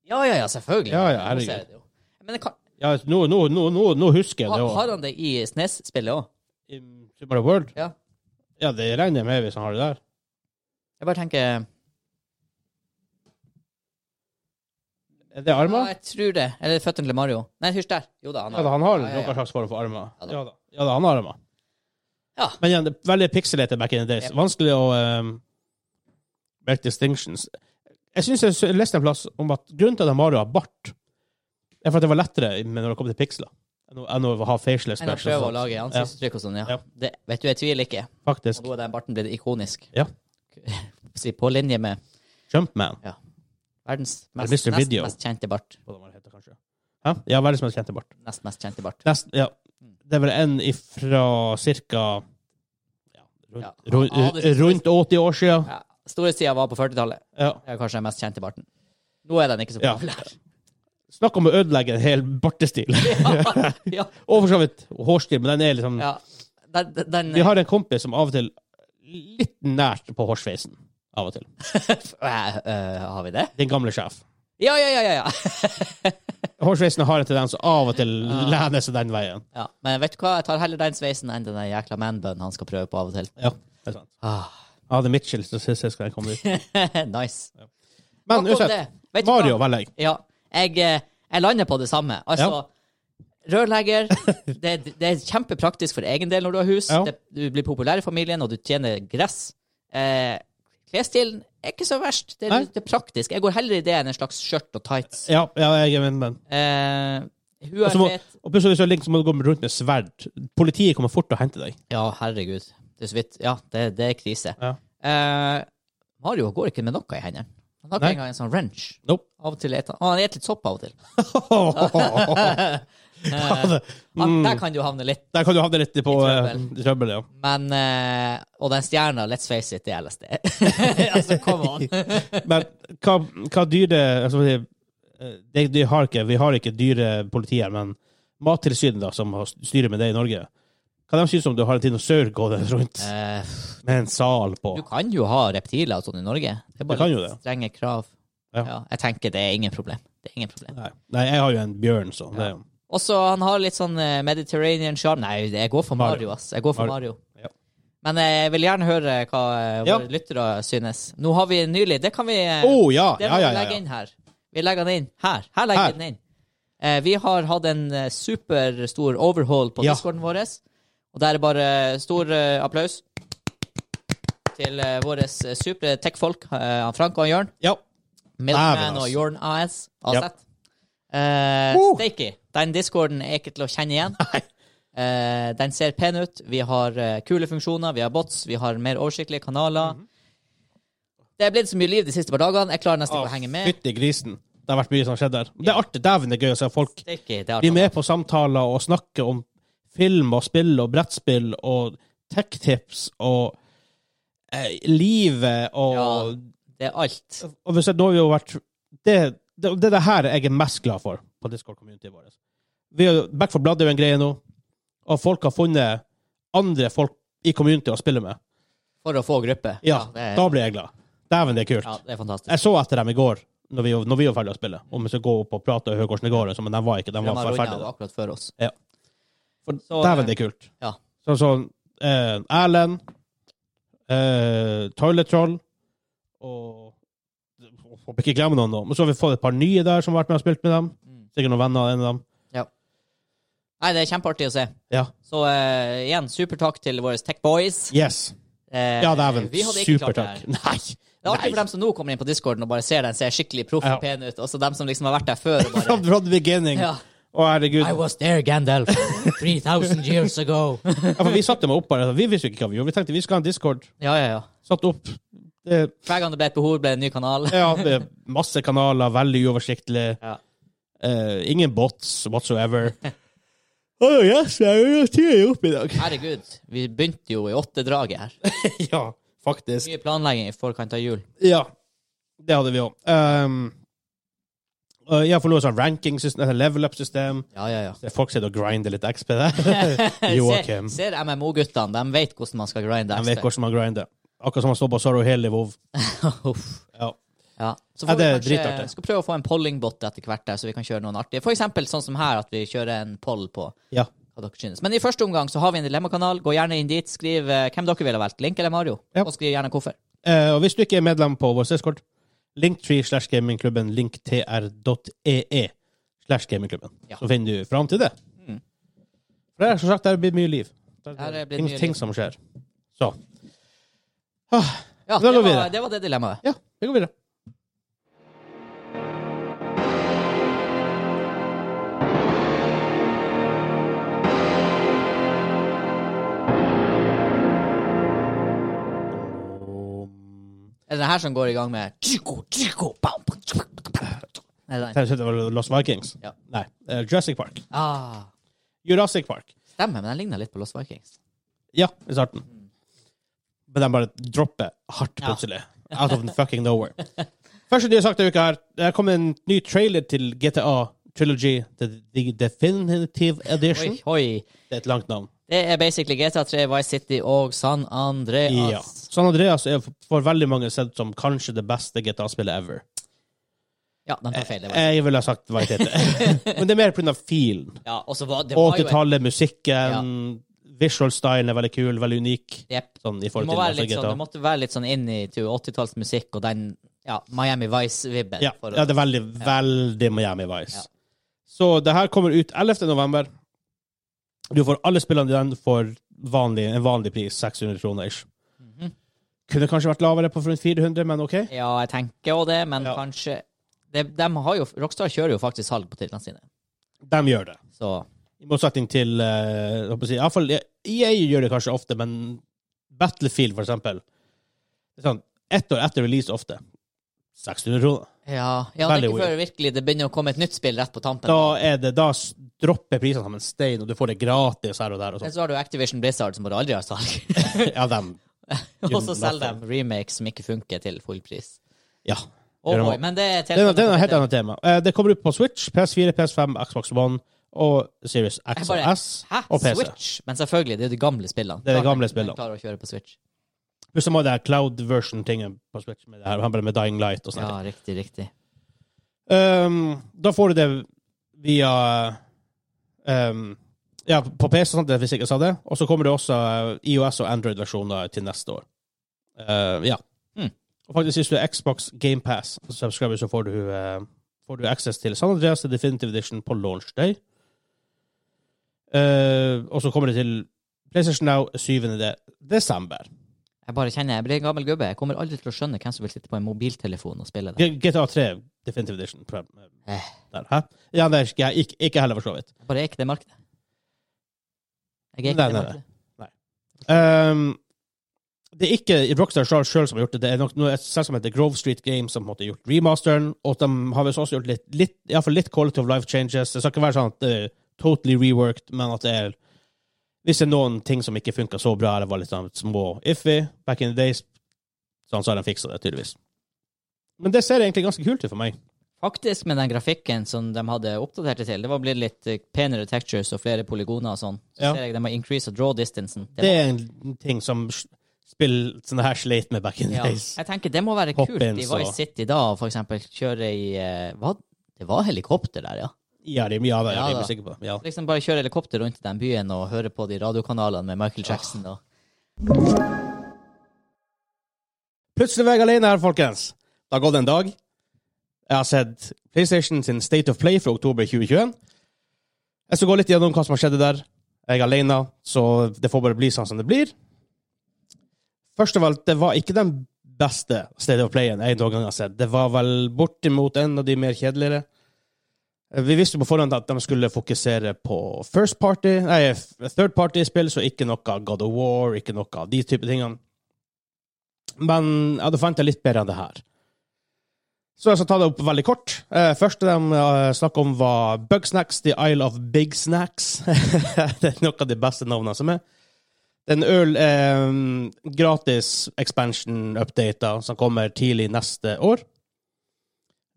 S1: Ja, ja, ja, selvfølgelig.
S2: Ja, ja,
S1: Jeg må se
S2: herregud.
S1: det jo. Men det kan,
S2: Ja, nå, nå, nå, nå, nå husker jeg
S1: har,
S2: det
S1: har
S2: òg.
S1: han det i SNES-spillet òg?
S2: I Super Mario World?
S1: Ja.
S2: Ja, det regner jeg med hvis han har det der.
S1: Jeg bare tenker
S2: Er det
S1: Ja,
S2: armer?
S1: jeg tror det. Eller føttene til Mario. Nei, hysj der. Jo da, han
S2: Ja
S1: har
S2: da, han har
S1: Ja, ja, ja.
S2: noen slags form for armer.
S1: Ja da.
S2: Ja da, ja, da han har armer.
S1: Ja.
S2: Men igjen, det er veldig pikselete back in the days.
S1: Yep.
S2: Vanskelig å ehm, make distinctions. Jeg syns jeg s- leste en plass om at grunnen til at Mario har bart, er for at det var lettere med når det kom til piksler, enn å- enn å ha facial
S1: En har
S2: expressions.
S1: prøvd å lage ansiktsuttrykk og sånn, ja.
S2: Ja.
S1: Det, vet du, jeg tviler ikke. Og
S2: Faktisk.
S1: da er den barten blitt ikonisk.
S2: Ja.
S1: Si, på linje med
S2: Jumpman.
S1: verdens
S2: Eller
S1: mest,
S2: Mr.
S1: nest
S2: Video.
S1: mest kjente bart.
S2: Hva det var det heter, kanskje. Hæ? Ja, verdens mest kjente bart.
S1: Nest mest kjente bart.
S2: Nesten, ja.
S1: Mm.
S2: Det er vel en ifra cirka ja,
S1: Ja.
S2: rundt, rund-
S1: Ja, det-
S2: rundt 80 år siden.
S1: Ja. Storhetstida var på 40-tallet.
S2: Ja.
S1: Det er kanskje den mest kjente barten. Nå er den ikke så
S2: Ja.
S1: populær.
S2: Snakk om å ødelegge en hel bartestil.
S1: Ja. ja.
S2: Og for så vidt hårstil, men den er liksom
S1: ja. Den, den- den
S2: Vi har en kompis som av og til litt nært på hårsveisen. Av og til.
S1: Eh, eh, Har vi det?
S2: Din gamle sjef.
S1: Ja, ja, ja, ja, ja.
S2: Hårsveisen har en tendens å av og til lene seg den veien.
S1: ja. Men vet du hva, jeg tar heller den sveisen enn den der jækla manbunnen han skal prøve på av og til.
S2: Ja, det er sant.
S1: Ah.
S2: Jeg hadde Mitchell så sist jeg skal komme dit.
S1: nice.
S2: Men
S1: Nok om
S2: uansett,
S1: det. Vet du hva?
S2: Mario velger jeg.
S1: Ja. Jeg, eh, jeg lander på det samme. Altså, rørlegger det, det er kjempepraktisk for egen del når du har hus.
S2: Ja.
S1: Det, du blir populær i familien, og du tjener gress. Eh, klesstilen er ikke så verst. Det,
S2: Nei.
S1: er- det er praktisk. Jeg går heller i det enn en slags skjørt og tights.
S2: Ja, ja, jeg er med, men
S1: Eh, hun
S2: Og
S1: er
S2: så Altså, må,
S1: fet.
S2: og plutselig hvis du er link, så må du gå rundt med sverd. Politiet kommer fort og henter deg.
S1: Ja, herregud. Det er så vidt. Ja, det, det er krise.
S2: Ja.
S1: Eh, Mario går ikke med noe i hendene. Han har
S2: Nei.
S1: ikke engang en sånn wrench.
S2: Nope.
S1: Av og til et, han han spiser litt sopp av og til. Han,
S2: mm,
S1: der kan du havne litt.
S2: der kan du havne litt på
S1: I
S2: eh,
S1: trøbbel.
S2: i trøbbel, ja.
S1: Men eh, Og den stjerna, let's face it, det er LSD. altså, come on.
S2: Men hva, hva dyre altså, det, det, det har ikke, Vi har ikke dyre politi her, men Mattilsynet, da, som har styrer med det i Norge, hva de synes om du har en dinosaur gående rundt
S1: Eh,
S2: med en sal på?
S1: du kan jo ha reptiler og sånn i Norge. Det er
S2: Du kan
S1: bare
S2: jo
S1: litt
S2: det.
S1: strenge krav.
S2: Ja.
S1: Ja. jeg tenker det er ingen problem. Det er ingen problem.
S2: Nei, nei, jeg har jo en bjørn, så det,
S1: Og så han har litt sånn eh, Mediterranean charm. Nei, jeg går for
S2: Mario.
S1: Mario, ass. Jeg går for
S2: Mario.
S1: Mario.
S2: Ja.
S1: Men eh, jeg vil gjerne høre hva eh,
S2: Ja.
S1: våre lyttere synes. Nå har vi nylig Det kan vi eh,
S2: Å ja!
S1: Det må
S2: Ja, ja,
S1: vi
S2: ja.
S1: legge
S2: ja.
S1: inn her. Vi legger den inn her. Her legger
S2: Her.
S1: vi den inn. Eh, vi har hatt en eh, superstor overhaul på
S2: Ja.
S1: discorden vår. Og der er bare stor eh, applaus til eh, våre supre tech-folk, eh, han Frank og han Jørn.
S2: ja. Dæven,
S1: Milkman
S2: ass.
S1: og Jørn AS.
S2: Ja.
S1: AZ. Eh,
S2: Woo!
S1: Steaky. Den discorden er ikke til å kjenne igjen. Eh, den ser pen ut. Vi har eh, kule funksjoner, vi har bots, vi har mer oversiktlige kanaler.
S2: Mhm.
S1: Det er blitt så mye liv de siste par dagene. Jeg klarer nesten ikke å henge med.
S2: Fytti grisen. Det har vært mye som har skjedd der. Det er artig. Dæven, det er gøy å se folk
S1: Steaky, det er
S2: bli
S1: artig.
S2: med på samtaler og snakke om film og spill og brettspill og tech-tips og eh, livet og
S1: Det er alt.
S2: Og hvis jeg, nå har vi jo vært det, det, det er det her jeg er mest glad for på Discord-communityet vår. Vi har, Back for Blood er jo en greie nå, og folk har funnet andre folk i community å spille med.
S1: For å få gruppe.
S2: Ja,
S1: det,
S2: Da
S1: er,
S2: blir jeg glad. Dæven, det er kult.
S1: ja, det er fantastisk.
S2: Jeg så etter dem i går. når vi, når vi var ferdige å spille. Om vi skal gå opp og prate og høre hvordan det går. og sånn, Men de var ikke de
S1: De
S2: var
S1: har
S2: for
S1: runda
S2: ferdige.
S1: akkurat før oss.
S2: For
S1: Så, eh,
S2: dæven, det er kult.
S1: ja.
S2: Sånn som eh, Erlend, eh, Toilet Troll og Håper ikke glemme noen, da. Men så har vi fått et par nye der som har vært med og spilt med dem.
S1: Mm.
S2: Sikkert noen venner av en av dem.
S1: Nei, det er kjempeartig å se.
S2: Ja.
S1: Så eh, igjen, super takk til våre Tech Boys.
S2: Yes.
S1: Eh,
S2: Ja, dæven.
S1: vi hadde ikke klart det
S2: Supertakk.
S1: her.
S2: Nei.
S1: Det er artig for
S2: Nei.
S1: dem som nå kommer inn på discorden og bare ser den ser skikkelig proff
S2: Ja.
S1: og pen ut, og så dem som liksom har vært der før og
S2: From
S1: bare
S2: the beginning.
S1: ja.
S2: Å, herregud.
S1: I was there, Gandalf, 3000 years ago.
S2: Ja, for vi satte meg opp bare. Vi visste jo ikke hva vi gjorde. Vi tenkte vi skal ha en Discord.
S1: Ja, ja, ja.
S2: Satt opp. Det,
S1: Hver gang det ble et behov, ble det en ny kanal.
S2: ja, det er masse kanaler, veldig uoversiktlig.
S1: Ja.
S2: Eh, ingen bots whatsoever. oh, yes, jeg er jo tidlig oppe i dag.
S1: Herregud, vi begynte jo i åttedraget her.
S2: ja, faktisk.
S1: Mye planlegging i forkant av jul.
S2: Ja, det hadde vi òg. Um, uh, ja, for noe sånn ranking-system, eller level up-system.
S1: Ja, ja, ja.
S2: Det er Folk sitter og grinder litt XP der. Joakim.
S1: Ser, ser MMO-guttene, de vet hvordan man skal grinde.
S2: Jeg vet
S1: XP.
S2: hvordan man grinder. Akkurat som man står på Sorrow Hill i WoW.
S1: Uff.
S2: Ja.
S1: Ja. Så
S2: Ja,
S1: får
S2: det er
S1: vi kanskje
S2: dritartig.
S1: skal prøve å få en pollingbot etter hvert, der, så vi kan kjøre noen artige. For eksempel sånn som her, at vi kjører en poll på
S2: Ja.
S1: hva dere synes. Men i første omgang så har vi en dilemmakanal. Gå gjerne inn dit. Skriv eh, hvem dere ville ha valgt, Link eller Mario.
S2: Ja.
S1: Og skriv gjerne hvorfor.
S2: Eh, og hvis du ikke er medlem på vår Discord, linktree slash gamingklubben linktr.ee slash gamingklubben.
S1: Ja.
S2: Så finner du fram til det.
S1: Mm.
S2: For det er som sagt, der blir mye liv. Der,
S1: Her er det blitt
S2: ting,
S1: mye
S2: ting
S1: liv.
S2: som skjer. Så.
S1: Ja,
S2: Da
S1: det
S2: går vi
S1: var,
S2: videre.
S1: det var det dilemmaet.
S2: Ja, vi går videre.
S1: Er det den her som går i gang med tjiko, tjiko, bam, bam, tjiko, bam, tjiko? Er det den?
S2: Jeg synes det var Los Vikings.
S1: Ja.
S2: Nei, eh, Jurassic Park.
S1: Ah,
S2: Jurassic Park.
S1: stemmer, men den ligner litt på Lost Vikings.
S2: Ja, i starten. Men de bare dropper hardt
S1: Mm. Ja.
S2: plutselig. Out of the fucking nowhere. Første nye sak denne uka her. Det kom en ny trailer til GTA Trilogy, The, the Definitive Edition.
S1: Oi, oi.
S2: Det er et langt navn.
S1: Det er basically GTA 3, Vice City og San
S2: Ja.
S1: Andreas.
S2: San Andreas er for veldig mange sett som kanskje det beste GTA-spillet ever.
S1: Ja, de tar feil. Det var.
S2: Jeg ville ha sagt hva det heter. Men det er mer pga. feelen.
S1: Ja, og så var det var jo en-
S2: 80-tallet, musikken, visual stylen er veldig kul, veldig unik.
S1: Jep.
S2: Sånn i
S1: Du,
S2: forhold
S1: må
S2: til
S1: være
S2: altså,
S1: litt sånn,
S2: GTA.
S1: du måtte være litt sånn inn i 80-tallsmusikk og den ja, Miami Vice-vibben.
S2: Ja,
S1: for å-
S2: ja det er veldig, veldig Miami Vice.
S1: Ja.
S2: Så det her kommer ut 11. november. Du får alle spillene dine for vanlig, en vanlig pris, 600 kroner ish.
S1: Mhm.
S2: Kunne kanskje vært lavere, på rundt 400, men OK.
S1: Ja, jeg tenker jo det, men
S2: Ja.
S1: kanskje de, har jo, Rockstar kjører jo faktisk salg på titlene sine,
S2: De gjør det.
S1: så
S2: I motsetning til eh, hva skal jeg si, i hvert fall, EA gjør det kanskje ofte, men Battlefield, for eksempel det er sånn, Ett år etter release ofte. 600 kroner.
S1: Ja, ja det er
S2: Veldig
S1: ikke før virkelig det begynner å komme et nytt spill rett på tampen.
S2: Da, er det, da s- dropper prisene som en stein, og du får det gratis her og der. og sånn.
S1: Men
S2: sånt.
S1: så har du Activision Blizzard som bare aldri har salg.
S2: Ja, dem.
S1: og så selger de remakes som ikke funker til full pris.
S2: Ja.
S1: Oh,
S2: Gjør de
S1: boy, men det er et
S2: Det er, det er et helt
S1: annet.
S2: annet tema. Eh, Det kommer ut på Switch, PS4, PS5, Xbox One og Series
S1: Jeg
S2: X og
S1: bare-
S2: S
S1: Hæ?
S2: og PC.
S1: Switch? Men selvfølgelig, det er jo de gamle spillene.
S2: Det er de
S1: Klart
S2: gamle
S1: man- man
S2: spillene.
S1: Klarer å kjøre på Switch.
S2: Pluss så må det her cloud version-tingen på Switch med, det her, med Dying Light og sånn.
S1: Ja, riktig, riktig.
S2: Um, da får du det via um, Ja, på PC, sant, hvis jeg ikke sa det. Og så kommer det også eh, IOS og Android-versjoner til neste år. Eh, ja.
S1: Mm.
S2: Og faktisk, hvis du er Xbox GamePass, så får du, eh, får du access til San Andreas The Definitive Edition på launch day. Eh, og så kommer det til PlayStation Now 7. de- desember.
S1: Jeg bare kjenner, jeg blir en gammel gubbe. Jeg kommer aldri til å skjønne hvem som vil sitte på en mobiltelefon og spille det.
S2: G- GTA 3 Definitive Edition. prøv, eh,
S1: Eh.
S2: Der, hæ? Ja, det er ikke, ikke, ikke heller, for så vidt.
S1: Jeg bare er ikke det markedet. Jeg er ikke
S2: Nei,
S1: det
S2: nei,
S1: markedet.
S2: Ehm, det er ikke Rockstar Charles sjøl som har gjort det, det er nok noe et selskap som heter Grove Street Games som har gjort remasteren, og de har visst også gjort litt, litt, i hvert fall litt quality of life changes. Det skal ikke være sånn at det er totally reworked, men at det er Hvis det er noen ting som ikke funka så bra, eller var litt sånn små iffy back in the days, sånn så har de fiksa det, tydeligvis. Men det ser egentlig ganske kult ut for meg.
S1: Faktisk, med den grafikken som de hadde oppdatert det til, det var blitt litt eh, penere textures og flere polygoner og sånn. Så
S2: Ja.
S1: ser jeg de har increased draw distancen. Det
S2: Det er en ting som spill sånne her sleit med back in the
S1: Ja.
S2: days.
S1: Jeg tenker det må være
S2: Hopp
S1: kult i
S2: inn, så-
S1: Vice City da, å for eksempel kjøre i eh, Hva? Det var helikopter der, ja.
S2: Ja, det er mye av det. Ja,
S1: Ja,
S2: det er
S1: da.
S2: jeg sikker på. Ja.
S1: Liksom bare kjøre helikopter rundt i den byen og høre på de radiokanalene med Michael Jackson og
S2: Plutselig var jeg alene her, folkens. Det har gått en dag. Jeg har sett PlayStation sin State of Play fra oktober 2021. Jeg skal gå litt gjennom hva som har skjedd der. Jeg er alene, så det får bare bli sånn som det blir. Først av alt, det var ikke den beste State of Playen jeg noen gang har sett. Det var vel bortimot en av de mer kjedeligere. Vi visste på forhånd at de skulle fokusere på first party, nei, third party-spill, så ikke noe God of War, ikke noe av de type tingene. Men jeg hadde forventa litt bedre enn det her. Så jeg skal ta det opp veldig kort. Eh, første de eh, snakket om, var Bugsnacks, The Isle of Big Snacks. det er noe av de beste navnene som er. Det er en øl eh, gratis expansion-updater som kommer tidlig neste år.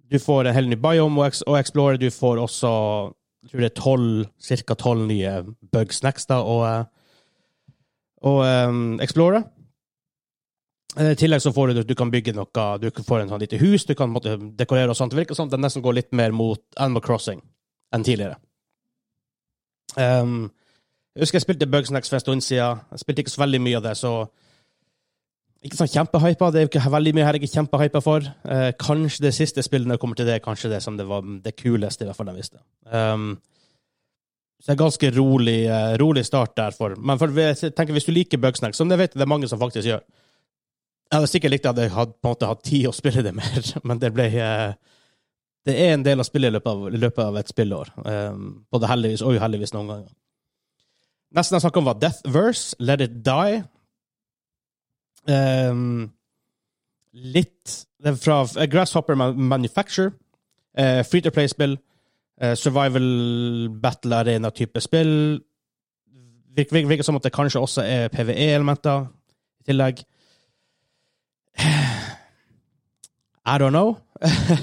S2: Du får en hel ny biome å eks- å explore. Du får også jeg tror det er 12, ca. tolv nye Bugsnacks da, å eh, å, eh, explore. Eh, I tillegg så får du, du kan bygge noe, du får en sånn lite hus, du kan måtte, eh, dekorere og sånt. Det virker som det nesten går litt mer mot Animal Crossing enn tidligere. Ehm, jeg husker jeg spilte Bugsnax for en stund siden. Jeg spilte ikke så veldig mye av det, så ikke sånn kjempehypa. Det er jo ikke veldig mye her jeg er kjempehypa for. Eh, kanskje det siste spillet når jeg kommer til det, er kanskje det som det var det kuleste, i hvert fall de visste. Ehm, så det er ganske rolig, eh, rolig start der. For, men for, jeg tenker, hvis du liker Bugsnax, som det vet jeg det er mange som faktisk gjør, jeg hadde sikkert likt at jeg hadde på en måte hatt tid å spille det mer, men det ble eh, Det er en del å spille i løpet av, i løpet av et spillår. Um, både heldigvis og uheldigvis noen ganger. Nesten jeg snakket om, var Death Verse, Let It Die. Um, litt det er fra eh, Grasshopper Man- Manufacture. eh, free to play-spill. eh, survival battle arena-type spill. Virker, virker, virker som at det kanskje også er PVE-elementer i tillegg. I don't know.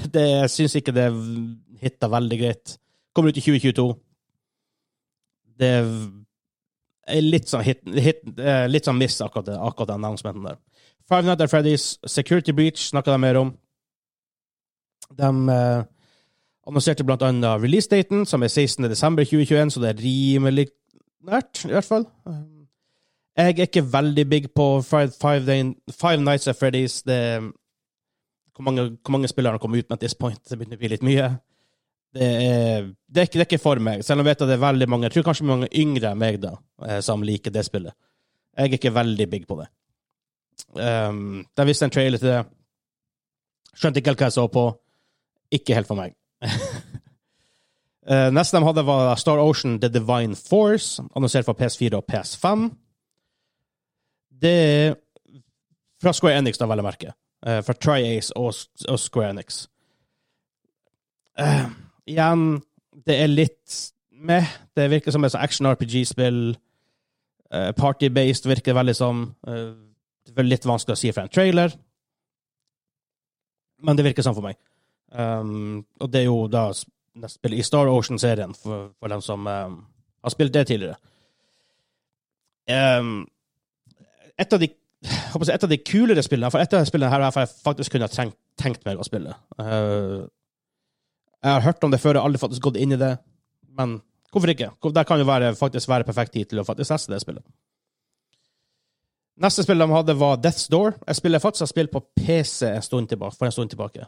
S2: det, jeg syns ikke det hitta veldig greit. Kommer ut i 2022. Det er litt sånn hit, hit, eh, litt sånn miss, akkurat, det- akkurat den announcementen der. Five Nights at Freddy's Security Breach snakka de mer om. De eh, annonserte blant annet releasedaten, som er 16.12.2021, så det er rimelig nært, i hvert fall. Jeg er ikke veldig big på Five, five, Day, five Nights at Freddy's. Det hvor mange, hvor mange spillere har kommet ut med at this point? Det begynner å bli litt mye. Det er, det, er ikke, det er ikke for meg, selv om jeg vet at det er veldig mange Jeg tror kanskje mange yngre enn meg da, eh, som liker det spillet. Jeg er ikke veldig big på det. Um, de viste en trailer til det. Skjønte ikke helt hva jeg så på. Ikke helt for meg. Eh, neste de hadde, var Star Ocean The Divine Force, annonsert for PS4 og PS5. Det er fra Square Enix, da, vel å merke eh, fra Tri-Ace og, og Square Enix. Eh, igjen, det er litt meh. Det virker som et sånt action-RPG-spill. Eh, Party-based virker det veldig som. Eh, det er vel litt vanskelig å si fra en trailer, men det virker sånn for meg. Um, og det er jo da s- det spillet i Star Ocean-serien, for, for dem som um, har spilt det tidligere. Um, et av de jeg håper å si, et av de kulere spillene, for et av de spillene her har jeg faktisk kunne ha tenkt, tenkt meg å spille. Eh, jeg har hørt om det før, jeg har aldri faktisk gått inn i det, men hvorfor ikke? Det kan jo være, faktisk være perfekt tid til å faktisk teste det spillet. Neste spill de hadde var Death's Door. Jeg spiller faktisk har spilt på PC en stund tilbake, for en stund tilbake.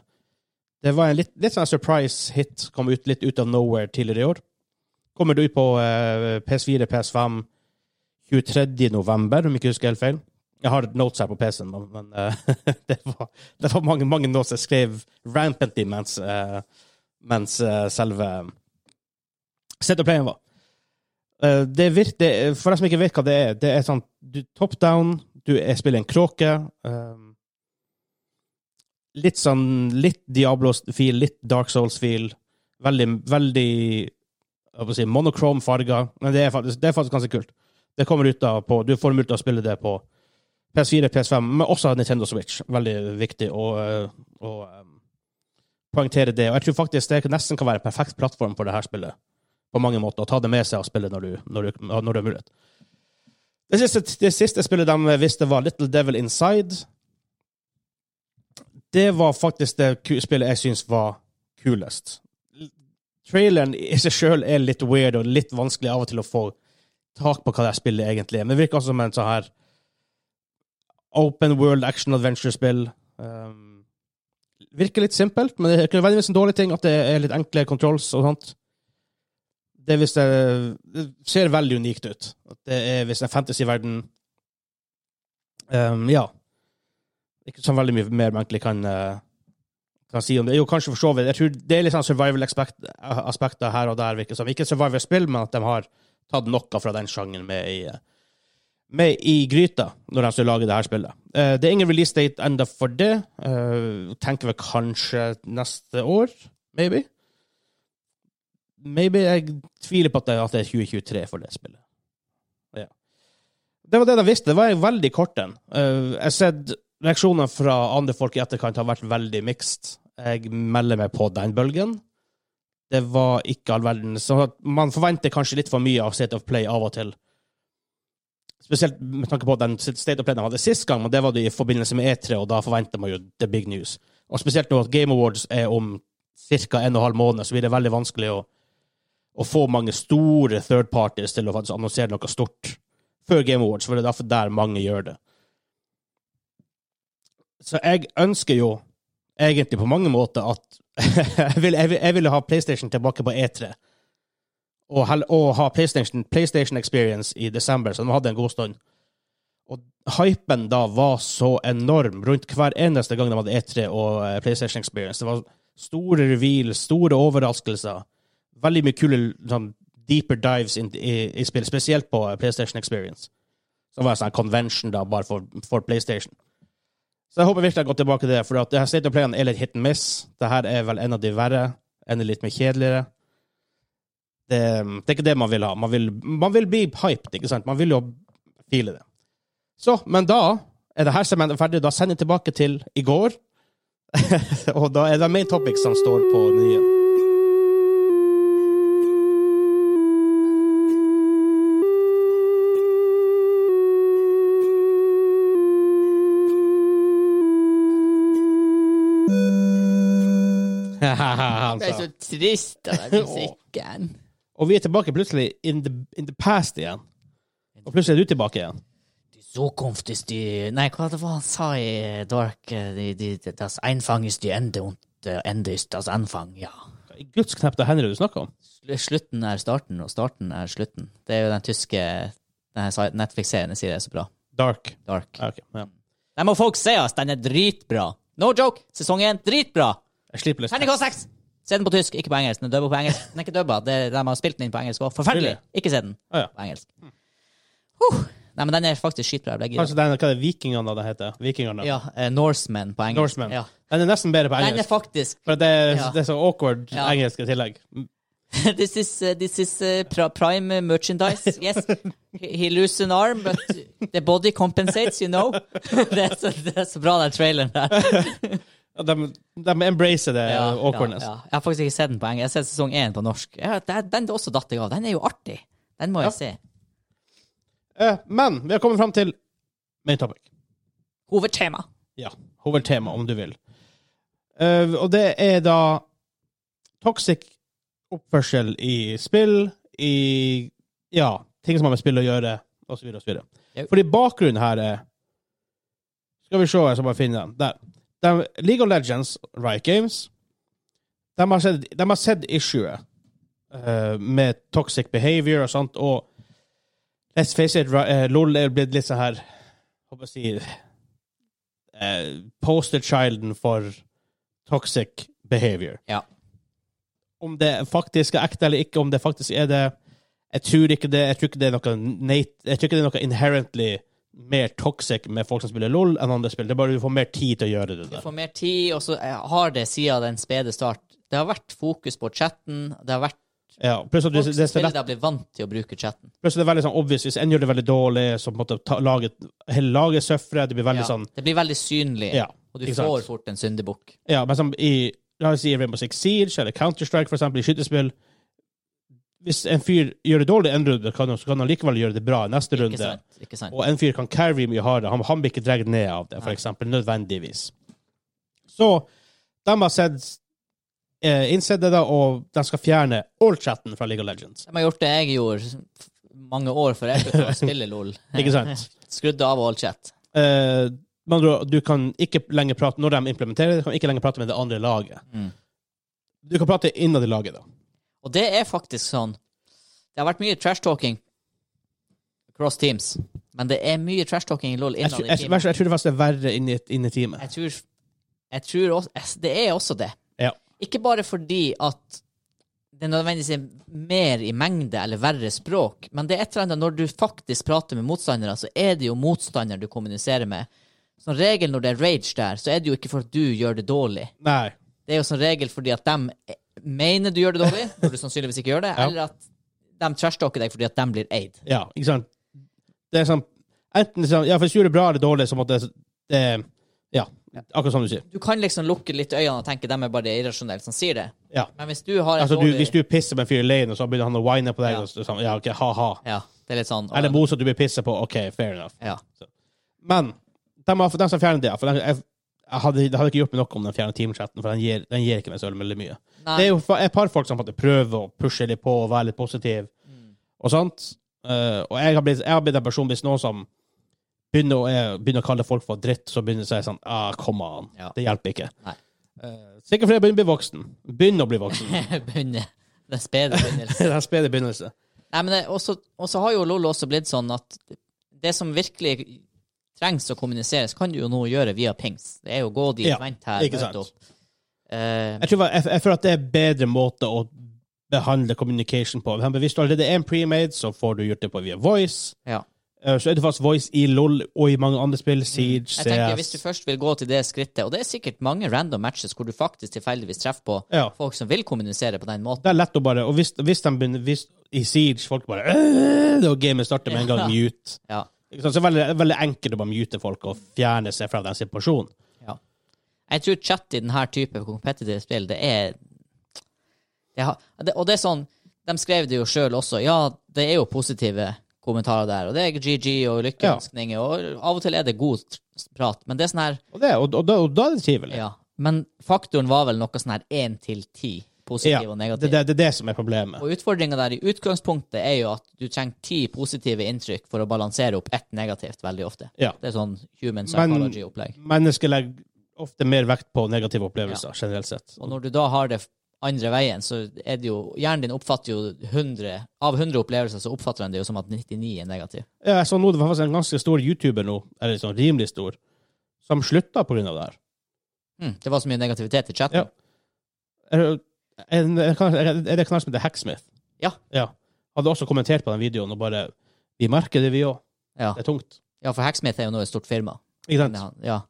S2: Det var en litt, litt sånn surprise hit, kom ut litt ut av nowhere tidligere i år. Kommer du på eh, PS4, PS5 23. november, om jeg ikke husker helt feil. Jeg har notes her på PC-en, men, men eh, det, var, det var mange, mange notes jeg skrev rampantly mens, eh, mens eh, selve Set of Playen var. Eh, det virker, det, for deg som ikke vet hva det er, det er sånn du, top down, du er, spiller en kråke eh, Litt sånn litt Diablo-feel, litt Dark Souls-feel. Veldig, veldig jeg holdt på å si, monochrome farger. Men det er, faktisk, det er faktisk ganske kult. Det kommer ut da på Du får mulighet til å spille det på PS4, PS5, men også Nintendo Switch. Veldig viktig å, eh, å eh, poengtere det. Og jeg tror faktisk det nesten kan være en perfekt plattform for det her spillet. På mange måter. Å ta det med seg og spille når du, når du, når du har mulighet. Det siste, det siste spillet de visste, var Little Devil Inside. Det var faktisk det ku- spillet jeg syns var kulest. L- Traileren i seg sjøl er litt weird og litt vanskelig av og til å få tak på hva det her spillet egentlig er. Men det virker også som en sånn her open world action adventure-spill. Um, virker litt simpelt, men det er ikke nødvendigvis en dårlig ting at det er litt enkle controls og sånt. Det, er hvis det, det ser veldig unikt ut. At det er hvis det er fantasy-verden um, Ja. Ikke så veldig mye mer man egentlig kan, eh, kan si om det. Jo, kanskje for så vidt. Jeg tror Det er litt sånn survival-aspekter her og der, virker det som. Ikke survival-spill, men at de har tatt noe fra den sjangen med i eh, med i gryta når de skal lage det her spillet. Eh, det er ingen release date enda for det. Eh, tenker vi kanskje neste år? Maybe? Maybe jeg tviler på at det, at det er 2023 for det spillet. Ja. Det var det de visste. Det var en veldig kort en. Eh, jeg har sett reaksjoner fra andre folk i etterkant har vært veldig mixed. Jeg melder meg på den bølgen. Det var ikke all verden. Så at man forventer kanskje litt for mye av State of Play av og til. Spesielt med tanke på den State of Play de hadde sist gang, men det var det i forbindelse med E3, og da forventer man jo the big news. Og spesielt nå at Game Awards er om ca. en og en halv måned, så blir det veldig vanskelig å, å få mange store third parties til å faktisk annonsere noe stort før Game Awards, for det er derfor der mange gjør det. Så jeg ønsker jo egentlig på mange måter at jeg vil- jeg vil- jeg ville ha PlayStation tilbake på E E3 og, hel- og ha PlayStation, PlayStation Experience i desember, så de hadde en god stund. Og hypen da var så enorm rundt hver eneste gang de hadde E3 og eh, PlayStation Experience. Det var store reveal, store overraskelser. Veldig mye kule sånn, deeper dives inn i, i spill, spesielt på eh, PlayStation Experience. Som var en sånn convention da, bare for, for PlayStation. Så jeg håper virkelig jeg går tilbake til det, for at det her State of Play-en er litt hit and miss. Det her er vel en av de verre, en litt mer kjedeligere det, det er ikke det man vil ha. Man vil, man vil bli hyped, ikke sant? Man vil jo file det. Så, men da er det her segmentet ferdig. Da sender jeg tilbake til i går. og da er det main topics som står på nye. Han
S1: Det er
S2: sa.
S1: så trist, den musikken.
S2: Og vi er tilbake plutselig in the, in the past igjen. Og plutselig er du tilbake igjen.
S1: Så komftes de Nei, hva det var han sa i Dark? eh, De, de, de, das Einfang ist die Ende und der Ende ist das Anfang, ja.
S2: I Guds knepte hender du snakker om.
S1: Sl- Slutten er starten, og starten er slutten. Det er jo den tyske den her sa- Netflix-serien jeg sier det er så bra.
S2: Dark.
S1: Dark.
S2: Ja, ok, ja.
S1: Der må folk se oss! Den er dritbra! No joke! Sesong én, dritbra!
S2: Jeg slipper litt.
S1: Terningkast seks! Se den på tysk, ikke på engelsk. Den er dubba på engelsk. Den er ikke dubba. Det er, de har spilt den inn på engelsk òg. Forferdelig!
S2: Really?
S1: Ikke se den
S2: Ah, ja.
S1: på engelsk. Huh. Nei, men den er faktisk skitbra. Jeg ble gira.
S2: Kanskje den, hva er det vikingene det heter? Vikingene.
S1: Ja, eh, Norsemen på engelsk.
S2: Norsemen.
S1: Ja.
S2: Den er nesten bedre på
S1: Den er
S2: engelsk.
S1: faktisk
S2: For det er,
S1: Ja.
S2: det er så awkward
S1: Ja.
S2: engelsk i tillegg.
S1: This is, uh, this is uh, pri- prime uh, merchandise. Yes, he, he lose an arm, but the body compensates, you know. det, er så, det er så bra, den traileren der.
S2: Ja, De, de embracer det awkwardness.
S1: ja, ja. Jeg har faktisk ikke sett den på engelsk. Jeg har sett sesong én på norsk. Ja, den, den er også datt jeg av. Den er jo artig. Den må jeg se.
S2: Eh, Men vi har kommet fram til main topic.
S1: Hovedtema.
S2: Ja. Hovedtema, om du vil. Eh, og det er da toxic oppførsel i spill, i ja, ting som har med spill å gjøre, osv. osv.
S1: Yep.
S2: Fordi bakgrunnen her er Skal vi se, jeg skal bare finne den. Der. De, League of Legends, Riot Games, de har sett, de har sett issuet eh, med toxic behavior og sånt, og let's face it, Ri- eh, LOL er blitt litt sånn her Hva skal jeg si eh, posterchilden for toxic behavior.
S1: Ja.
S2: Om det faktisk er ekte eller ikke, om det faktisk er det Jeg tror ikke det, jeg tror ikke det er noe nat- Jeg tror ikke det er noe inherently mer toxic med folk som spiller LOL enn andre spill. Det er bare du får mer tid til å gjøre det
S1: Du
S2: der.
S1: får mer tid, og så eh, har det siden den spede start. Det har vært fokus på chatten. Det har vært
S2: Ja, pluss at du,
S1: Folk
S2: det, er så
S1: spiller
S2: lett,
S1: da blir vant til å bruke chatten.
S2: pluss at det er veldig sånn obvious. Hvis en gjør det veldig dårlig, så på en måte ta, laget, hele laget søfrer. Det blir veldig
S1: Ja.
S2: sånn
S1: Det blir veldig synlig,
S2: Ja,
S1: og du
S2: ikke sant.
S1: får fort en syndebukk.
S2: Ja, men som i la oss si Rainbow Six Siege eller Counter-Strike for eksempel, i skytespill hvis en fyr gjør det dårlig en runde, kan han, så kan han likevel gjøre det bra i neste
S1: Ikke
S2: runde.
S1: sant. Ikke sant.
S2: Og en fyr kan carry mye hardere. Han, han blir ikke dratt ned av det, for
S1: Nei.
S2: eksempel, nødvendigvis. Så de har sett eh, innsett det, da, og de skal fjerne all chatten fra League of Legends.
S1: De har gjort det jeg gjorde f- mange år før jeg begynte å spille LOL.
S2: Ikke sant?
S1: Skrudde av all chat.
S2: Eh, med andre ord, du kan ikke lenger prate når de implementerer det, du kan ikke lenger prate med det andre laget.
S1: Mm.
S2: Du kan prate innad i laget, da.
S1: Og det er faktisk sånn. Det har vært mye trash-talking across teams, men det er mye trash-talking i LOL
S2: Jeg,
S1: innad
S2: tror-
S1: i
S2: jeg,
S1: teamet.
S2: jeg, jeg tror det faktisk er verre inni inn i teamet.
S1: Jeg tror, jeg tror også, jeg- Det er også det.
S2: Ja.
S1: Ikke bare fordi at det nødvendigvis er mer i mengde eller verre språk, men det er et eller annet når du faktisk prater med motstandere, så er det jo motstanderen du kommuniserer med. Som regel når det er rage der, så er det jo ikke for at du gjør det dårlig.
S2: Nei.
S1: Det er jo som regel fordi at de mener du gjør det dårlig, når du sannsynligvis ikke gjør det,
S2: Ja.
S1: eller at de trashtalker deg fordi at de blir eid.
S2: Ja, ikke sant? Det er sånn Enten sånn, ja, hvis du gjør det bra eller dårlig, så måtte det, det Ja, akkurat som du sier.
S1: Du kan liksom lukke litt øynene og tenke de er bare irrasjonelle som sier det,
S2: Ja.
S1: men hvis du har en
S2: Altså, du,
S1: dårlig
S2: hvis du pisser med en fyr i leien, og så begynner han å whine på deg,
S1: Ja.
S2: og så, sånn, ja, ok, ha-ha.
S1: Ja, det er litt sånn
S2: Eller motsatt, du blir pisset på, ok, fair enough.
S1: Ja.
S2: Men de, har- de som fjerner det, for de, jeg, jeg hadde, det hadde ikke gjort meg noe om de fjerner teamchatten, for den gir, den gir ikke meg så veldig mye.
S1: Nei.
S2: Det er jo fa- et par folk som på en måte prøver å pushe litt på og være litt positiv
S1: Mm.
S2: og sånt. Eh, og jeg har blitt, jeg har blitt en person hvis noen som begynner å, eh, begynner å kalle folk for dritt, så begynner jeg å si sånn ah, Come on.
S1: Ja.
S2: Det hjelper ikke.
S1: Nei.
S2: Eh, sikkert fordi jeg begynner å bli voksen. Begynner å bli voksen.
S1: begynner den spede begynnelsen.
S2: Den spede begynnelse.
S1: Nei, men det- også- Og så har jo LOL også blitt sånn at det som virkelig trengs å kommuniseres, kan du jo nå gjøre via pings. Det er jo gå dit,
S2: Ja,
S1: vent her, møt
S2: ikke sant.
S1: opp. Eh,
S2: Jeg, tror, jeg, jeg føler at det er en bedre måte å behandle communication på. For eksempel, Hvis du allerede er en premade, så får du gjort det på via voice.
S1: ja.
S2: Eh, så er det faktisk voice i LOL og i mange andre spill. Siege,
S1: Mm. Jeg tenker, Hvis du
S2: CS
S1: først vil gå til det skrittet, og det er sikkert mange random matches hvor du faktisk tilfeldigvis treffer på
S2: Ja.
S1: folk som vil kommunisere på den måten
S2: Det er lett å bare Og hvis, hvis de begynner hvis, I Siege folk bare «Øh», Og gamet starter med en gang
S1: Ja.
S2: mute.
S1: Ja.
S2: Ikke sant? Så det er veldig, veldig enkelt å bare mute folk og fjerne seg fra den situasjonen.
S1: ja. Jeg tror chat i denne type competitive spill, det er det har, det, Og det er sånn De skrev det jo sjøl også. Ja, det er jo positive kommentarer der, og det er GG og lykkeønskninger, og av og til er det god prat, men det er sånn her
S2: Og, det, og, og, da, og da er det trivelig.
S1: Ja. Men faktoren var vel noe sånn her én til ti, positiv
S2: Ja,
S1: og
S2: Det,
S1: negativ.
S2: det, det er det som er problemet.
S1: Og utfordringa der i utgangspunktet er jo at du trenger ti positive inntrykk for å balansere opp ett negativt veldig ofte.
S2: Ja.
S1: Det er sånn human
S2: Men-
S1: psychology-opplegg.
S2: Mennesker legger ofte mer vekt på negative opplevelser, generelt sett.
S1: Og når du da har det andre veien, så er det jo Hjernen din oppfatter jo 100 Av 100 opplevelser så oppfatter den det jo som at 99 er negativ.
S2: Ja, jeg så nå, det var faktisk en ganske stor YouTuber nå, eller sånn rimelig stor, som slutta på grunn av det her.
S1: Hm, det var så mye negativitet i
S2: Ja.
S1: chatten.
S2: Er, er, er det kanskje som heter Hacksmith?
S1: Ja.
S2: ja. Hadde også kommentert på den videoen og bare Vi merker det, vi òg.
S1: Ja,
S2: Det er tungt.
S1: ja for Hacksmith er jo nå et stort firma.
S2: Ikke sant?
S1: Ja, ja.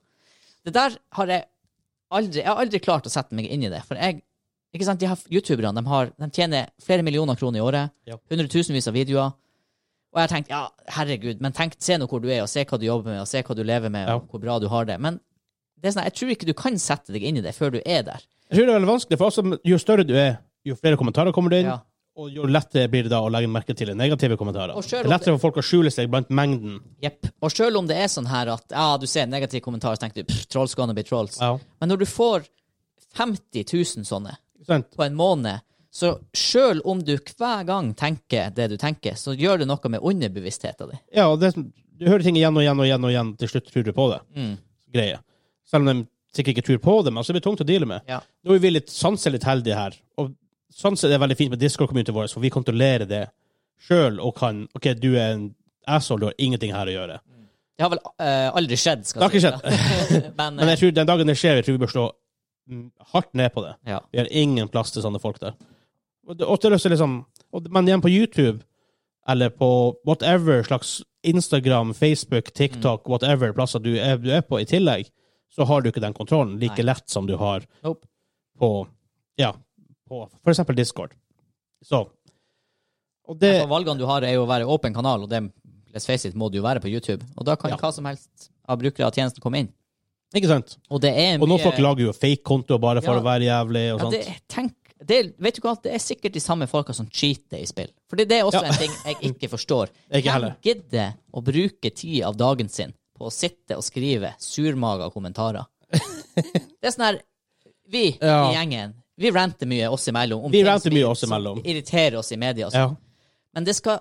S1: Det der har jeg aldri Jeg har aldri klart å sette meg inn i det. For jeg Ikke sant, de her youtuberne de, har- de tjener flere millioner kroner i året.
S2: Ja.
S1: Hundretusenvis av videoer. Og jeg har tenkt ja, herregud, men tenk, se nå hvor du er, og se hva du jobber med, og se hva du lever med,
S2: Ja.
S1: og hvor bra du har det. Men det er sånn, jeg tror ikke du kan sette deg inn i det før du er der.
S2: Jeg tror det er veldig vanskelig, for også, jo større du er, jo flere kommentarer kommer det inn,
S1: Ja.
S2: og jo lettere blir det da å legge merke til de negative kommentarer.
S1: Og selv
S2: Det er lettere for folk å skjule seg blant mengden.
S1: Jepp. Og sjøl om det er sånn her at ja, du ser en negativ kommentar, så tenker du pff, trolls gonna be trolls.
S2: Ja.
S1: Men når du får 50 000 sånne
S2: Ikke sant?
S1: på en måned, så sjøl om du hver gang tenker det du tenker, så gjør det noe med underbevisstheten din.
S2: Ja, og det, er som- du hører ting igjen og igjen og igjen, og igjen til slutt tror du på det.
S1: Mm.
S2: Greie. Selv om de sikkert ikke tror på det, men altså, det blir tungt å deale med.
S1: Ja.
S2: Nå er vi litt sanse litt heldige her, og sanse er veldig fint med Discord-communityen vår, for vi kontrollerer det sjøl og kan OK, du er en asshole, du har ingenting her å gjøre.
S1: Det har vel eh, aldri skjedd, skal
S2: Det har
S1: skjedd. Men,
S2: Men jeg tror den dagen det skjer, jeg tror vi bør slå mm, hardt ned på det.
S1: eh, ja.
S2: Vi har ingen plass til sånne folk der. Og det, og det er også liksom, og, men igjen på YouTube, eller på whatever slags Instagram, Facebook, TikTok,
S1: Mm.
S2: whatever plasser du er, du er på i tillegg, så har du ikke den kontrollen like
S1: Nei.
S2: lett som du har
S1: Nope.
S2: på, ja, på for eksempel Discord. Så. Og det,
S1: Altså, valgene du har, er jo å være åpen kanal, og det let's face it, må du jo være på YouTube. Og da kan
S2: Ja.
S1: hva som helst av brukere av tjenesten komme inn.
S2: ikke sant?
S1: Og det er
S2: Og
S1: mye
S2: noen folk lager jo fake kontoer bare for
S1: Ja.
S2: å være jævlig og
S1: ja,
S2: sånt.
S1: det, Tenk det, er- vet du hva, det er sikkert de samme folka som cheater i spill. Fordi det er også
S2: Ja.
S1: en ting jeg ikke forstår.
S2: Ikke heller.
S1: Hvem gidder å bruke tid av dagen sin på å sitte og skrive surmaga kommentarer? Det er sånn her Vi
S2: Ja.
S1: i gjengen, vi ranter mye oss imellom. om
S2: Vi
S1: ting
S2: ranter
S1: som-
S2: mye oss
S1: som
S2: imellom.
S1: Irriterer oss i media. og sånn.
S2: Ja.
S1: Men det skal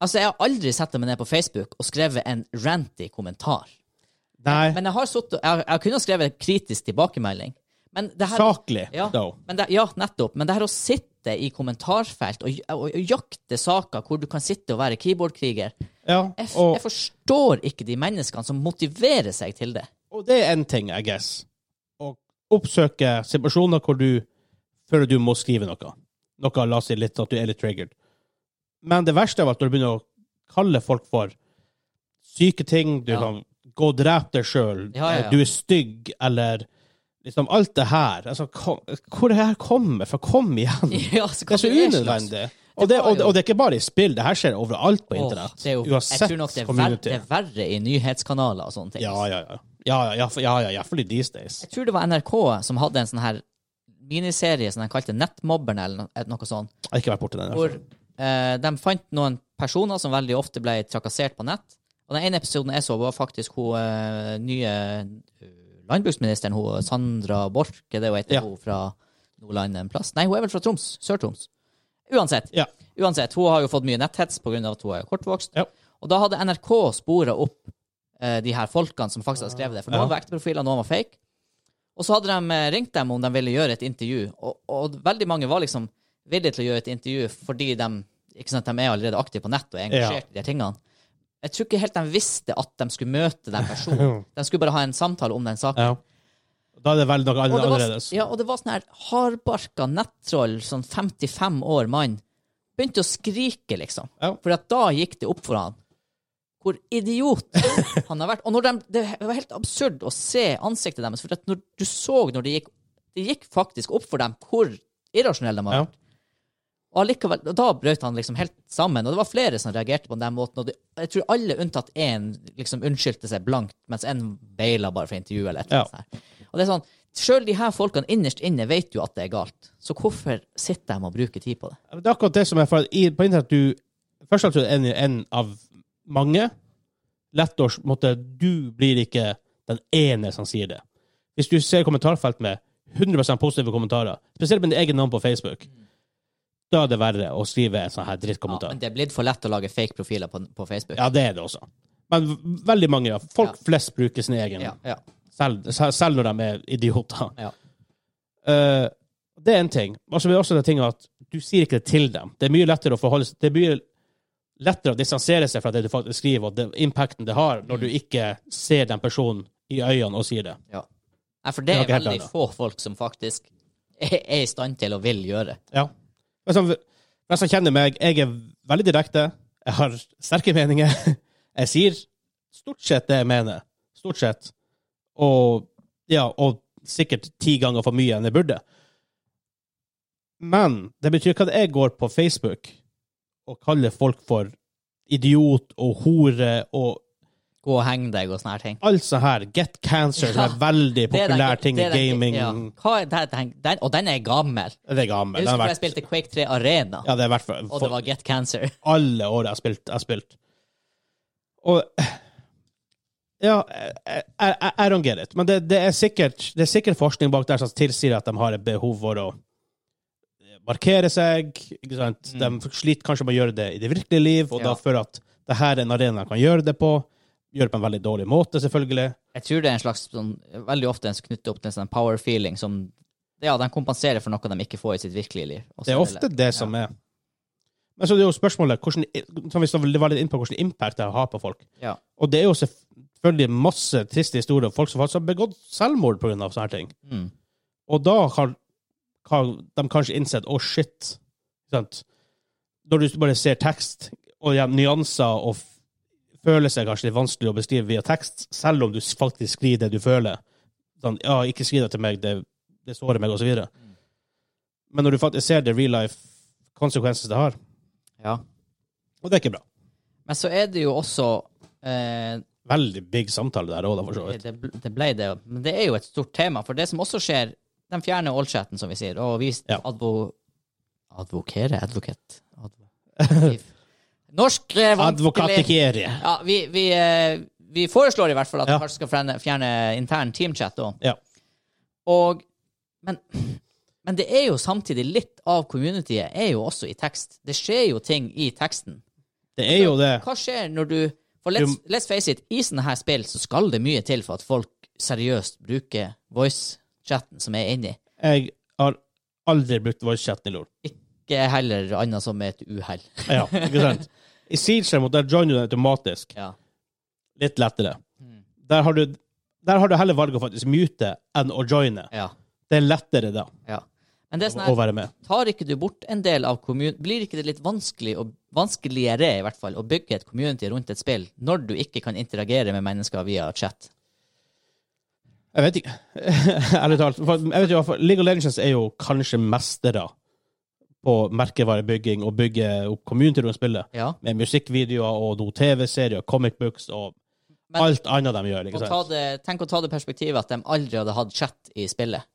S1: Altså, jeg har aldri satt meg ned på Facebook og skrevet en ranty kommentar.
S2: Nei,
S1: Men jeg har suttet, jeg, jeg kunne ha skrevet en kritisk tilbakemelding. Men det her,
S2: saklig,
S1: ja,
S2: though.
S1: men det, ja, nettopp. Men det her å sitte i kommentarfelt og, og, og jakte saker hvor du kan sitte og være keyboardkriger jeg,
S2: Ja,
S1: f-
S2: og,
S1: jeg forstår ikke de menneskene som motiverer seg til det.
S2: og det er én ting, I guess. Å oppsøke situasjoner hvor du føler du må skrive noe. Noe la oss si litt at du er litt triggered. Men det verste er at når du begynner å kalle folk for syke ting, du
S1: Ja.
S2: kan gå og drepe deg sjøl,
S1: Ja, ja, ja.
S2: du er stygg, eller liksom alt det her altså, kom, Hvor det her kommer fra? Kom igjen!
S1: Ja, så
S2: Det er så
S1: kanskje slags-
S2: unødvendig. Og det,
S1: var
S2: og,
S1: jo-
S2: og det er ikke bare i spill, det her skjer overalt
S1: Åh,
S2: på internett.
S1: det er jo,
S2: Uansett
S1: jeg tror nok det er, verre,
S2: community.
S1: det er verre i nyhetskanaler og sånne ting.
S2: Ja, ja, ja. Ja, ja, ja, for- ja, ja, ja, fordi these days.
S1: Jeg tror det var NRK som hadde en sånn her miniserie som de kalte Nettmobberne, eller no- noe sånt.
S2: Jeg har ikke vært borti den.
S1: hvor eh, de fant noen personer som veldig ofte ble trakassert på nett. Og den ene episoden jeg så, var faktisk hun eh, nye eh, landbruksministeren, hun eh, Sandra Borch, er det hun heter,
S2: Ja.
S1: hun fra Nordland en plass? Nei, hun er vel fra Troms. Sør-Troms. Uansett.
S2: Ja.
S1: Uansett, hun har jo fått mye netthets pga. at hun er kortvokst.
S2: Ja.
S1: Og da hadde NRK spora opp eh, de her folkene som faktisk hadde skrevet det. For noen
S2: Ja.
S1: var ekte profiler, noen var fake. Og så hadde de eh, ringt dem om de ville gjøre et intervju, og, og veldig mange var liksom villige til å gjøre et intervju fordi de, ikke sant, de er allerede aktive på nett og er engasjert i de her tingene. Jeg tror ikke helt de visste at de skulle møte den personen. De skulle bare ha en samtale om den saken.
S2: Ja. Da er det vel noe
S1: Og det var,
S2: annerledes.
S1: ja, og det var sånn her hardbarka nettroll, sånn 55 år mann, begynte å skrike, liksom.
S2: Ja.
S1: For at da gikk det opp for han hvor idiot han har vært. Og når de, det var helt absurd å se ansiktet deres, for at når du så når det gikk Det gikk faktisk opp for dem hvor irrasjonelle de har
S2: Ja.
S1: vært. Og allikevel, og da brøt han liksom helt sammen. Og det var flere som reagerte på den måten. Og det, jeg tror alle unntatt én liksom unnskyldte seg blankt, mens én beila bare for intervjuet eller et eller annet. sånt her. Og det er sånn, Sjøl de her folkene innerst inne vet jo at det er galt, så hvorfor sitter de og bruker tid på det?
S2: Men Det er akkurat det som er for, i, på internett. Du, først og fremst er du en, en av mange. Lett å måtte, Du blir ikke den ene som sier det. Hvis du ser kommentarfelt med 100 positive kommentarer, spesielt med din egen navn på Facebook, da er det verre å skrive en sånn her
S1: Ja,
S2: drittkommentar.
S1: men det er blitt for lett å lage fake profiler på, på Facebook.
S2: Ja, det er det også. Men v- veldig mange, ja. Folk
S1: Ja.
S2: flest bruker sin egen,
S1: Ja, ja,
S2: selv, se- selv når de er idioter.
S1: ja.
S2: Eh, det er en ting. Og så er det også den tingen at du sier ikke det til dem. Det er mye lettere å forholde seg Det er mye lettere å distansere seg fra det du faktisk skriver, og det, impacten det har, når du ikke ser den personen i øynene og sier det.
S1: ja. Nei, for det
S2: Det
S1: er
S2: er nok helt
S1: veldig
S2: annet.
S1: få folk som faktisk er, er i stand til og vil gjøre.
S2: Ja. Men som, men som kjenner meg, jeg er veldig direkte. Jeg har sterke meninger. Jeg sier stort sett det jeg mener. Stort sett. Og, ja, og sikkert ti ganger for mye enn jeg burde. Men det betyr ikke at jeg går på Facebook og kaller folk for idiot og hore og
S1: Gå og heng deg og sånne her ting.
S2: alt sånt her. Get cancer, som er veldig
S1: Det er den-
S2: populær ting i
S1: det er den-
S2: gaming.
S1: Ja. Hva er det, den, den, og den er gammel.
S2: Det er gammel.
S1: Jeg
S2: Den
S1: husker
S2: har
S1: da jeg
S2: vært-
S1: spilte Quake 3 Arena,
S2: Ja, det er i hvert fall
S1: og det var Get Cancer.
S2: alle år jeg har spilt. Jeg har spilt. Og Ja, I, I, I don't get it. Men det, det, er sikkert, det er sikkert forskning bak der som tilsier at de har et behov for å markere seg. Ikke sant? De sliter kanskje med å gjøre det i det virkelige liv, og
S1: Ja.
S2: da føler at det her er en arena de kan gjøre det på. Gjøre det på en veldig dårlig måte, selvfølgelig.
S1: Jeg tror det er en slags sånn, veldig ofte en som knytter opp til en sånn power feeling som Ja, den kompenserer for noe de ikke får i sitt virkelige liv. Og så
S2: Det er ofte det som er Men så er det jo spørsmålet hvordan, som vi så var litt inn på, hvordan impact det har på folk.
S1: Ja.
S2: Og det er jo selvfølgelig masse triste historier om folk som faktisk har begått selvmord pga. sånne her ting.
S1: Mm.
S2: Og da har, har de kanskje innsett å, shit. Sant? Når du bare ser tekst og ja, nyanser og f- føler seg kanskje litt vanskelig å beskrive via tekst, selv om du s- faktisk skriver det du føler. Sånn, ja, ikke skriv det til meg, det, det sårer meg, og så videre. Men når du faktisk ser det real life konsekvenser det har,
S1: ja.
S2: og det er ikke bra.
S1: Men så er det jo også eh,
S2: Veldig big samtale der òg, for så vidt.
S1: det, det ble det, men det er jo et stort tema. For det som også skjer de fjerner all-chatten, som vi sier, og vi
S2: Ja.
S1: advo... Advokerer? Advokat? Advo- Norsk eh, vanskelig
S2: Advokatikerie.
S1: ja, vi, vi, eh, vi foreslår i hvert fall at
S2: Ja.
S1: de kanskje skal fjerne, fjerne intern teamchat òg.
S2: Ja.
S1: Og men, men det er jo samtidig litt av communityet er jo også i tekst. Det skjer jo ting i teksten.
S2: Det er jo det.
S1: Hva skjer når du For let's,
S2: Du-
S1: let's face it, i sånne her spill så skal det mye til for at folk seriøst bruker voice-chatten som er inni.
S2: Jeg har aldri brukt voicechatten i LOL.
S1: Ikke heller annet som et uhell.
S2: Ja, ikke sant? I Siege derimot, der joiner du automatisk.
S1: Ja.
S2: Litt lettere.
S1: Mm.
S2: Der har du, der har du heller valget å faktisk mute enn å joine.
S1: ja,
S2: Det er lettere da
S1: ja. Men det er sånn
S2: å
S1: her,
S2: være med.
S1: tar ikke du bort en del av kommun... Blir ikke det litt vanskelig, og vanskeligere i hvert fall, å bygge et community rundt et spill når du ikke kan interagere med mennesker via chat?
S2: Jeg vet ikke. Ærlig talt. For jeg vet jo, for League of Legends er jo kanskje mestere på merkevarebygging og bygge opp community rundt spillet.
S1: Ja.
S2: Med musikkvideoer og noen TV-serier, comic books og
S1: Men-
S2: alt annet de gjør.
S1: Og
S2: ikke
S1: ta
S2: sant?
S1: det, tenk å ta det perspektivet at de aldri hadde hatt chat i spillet.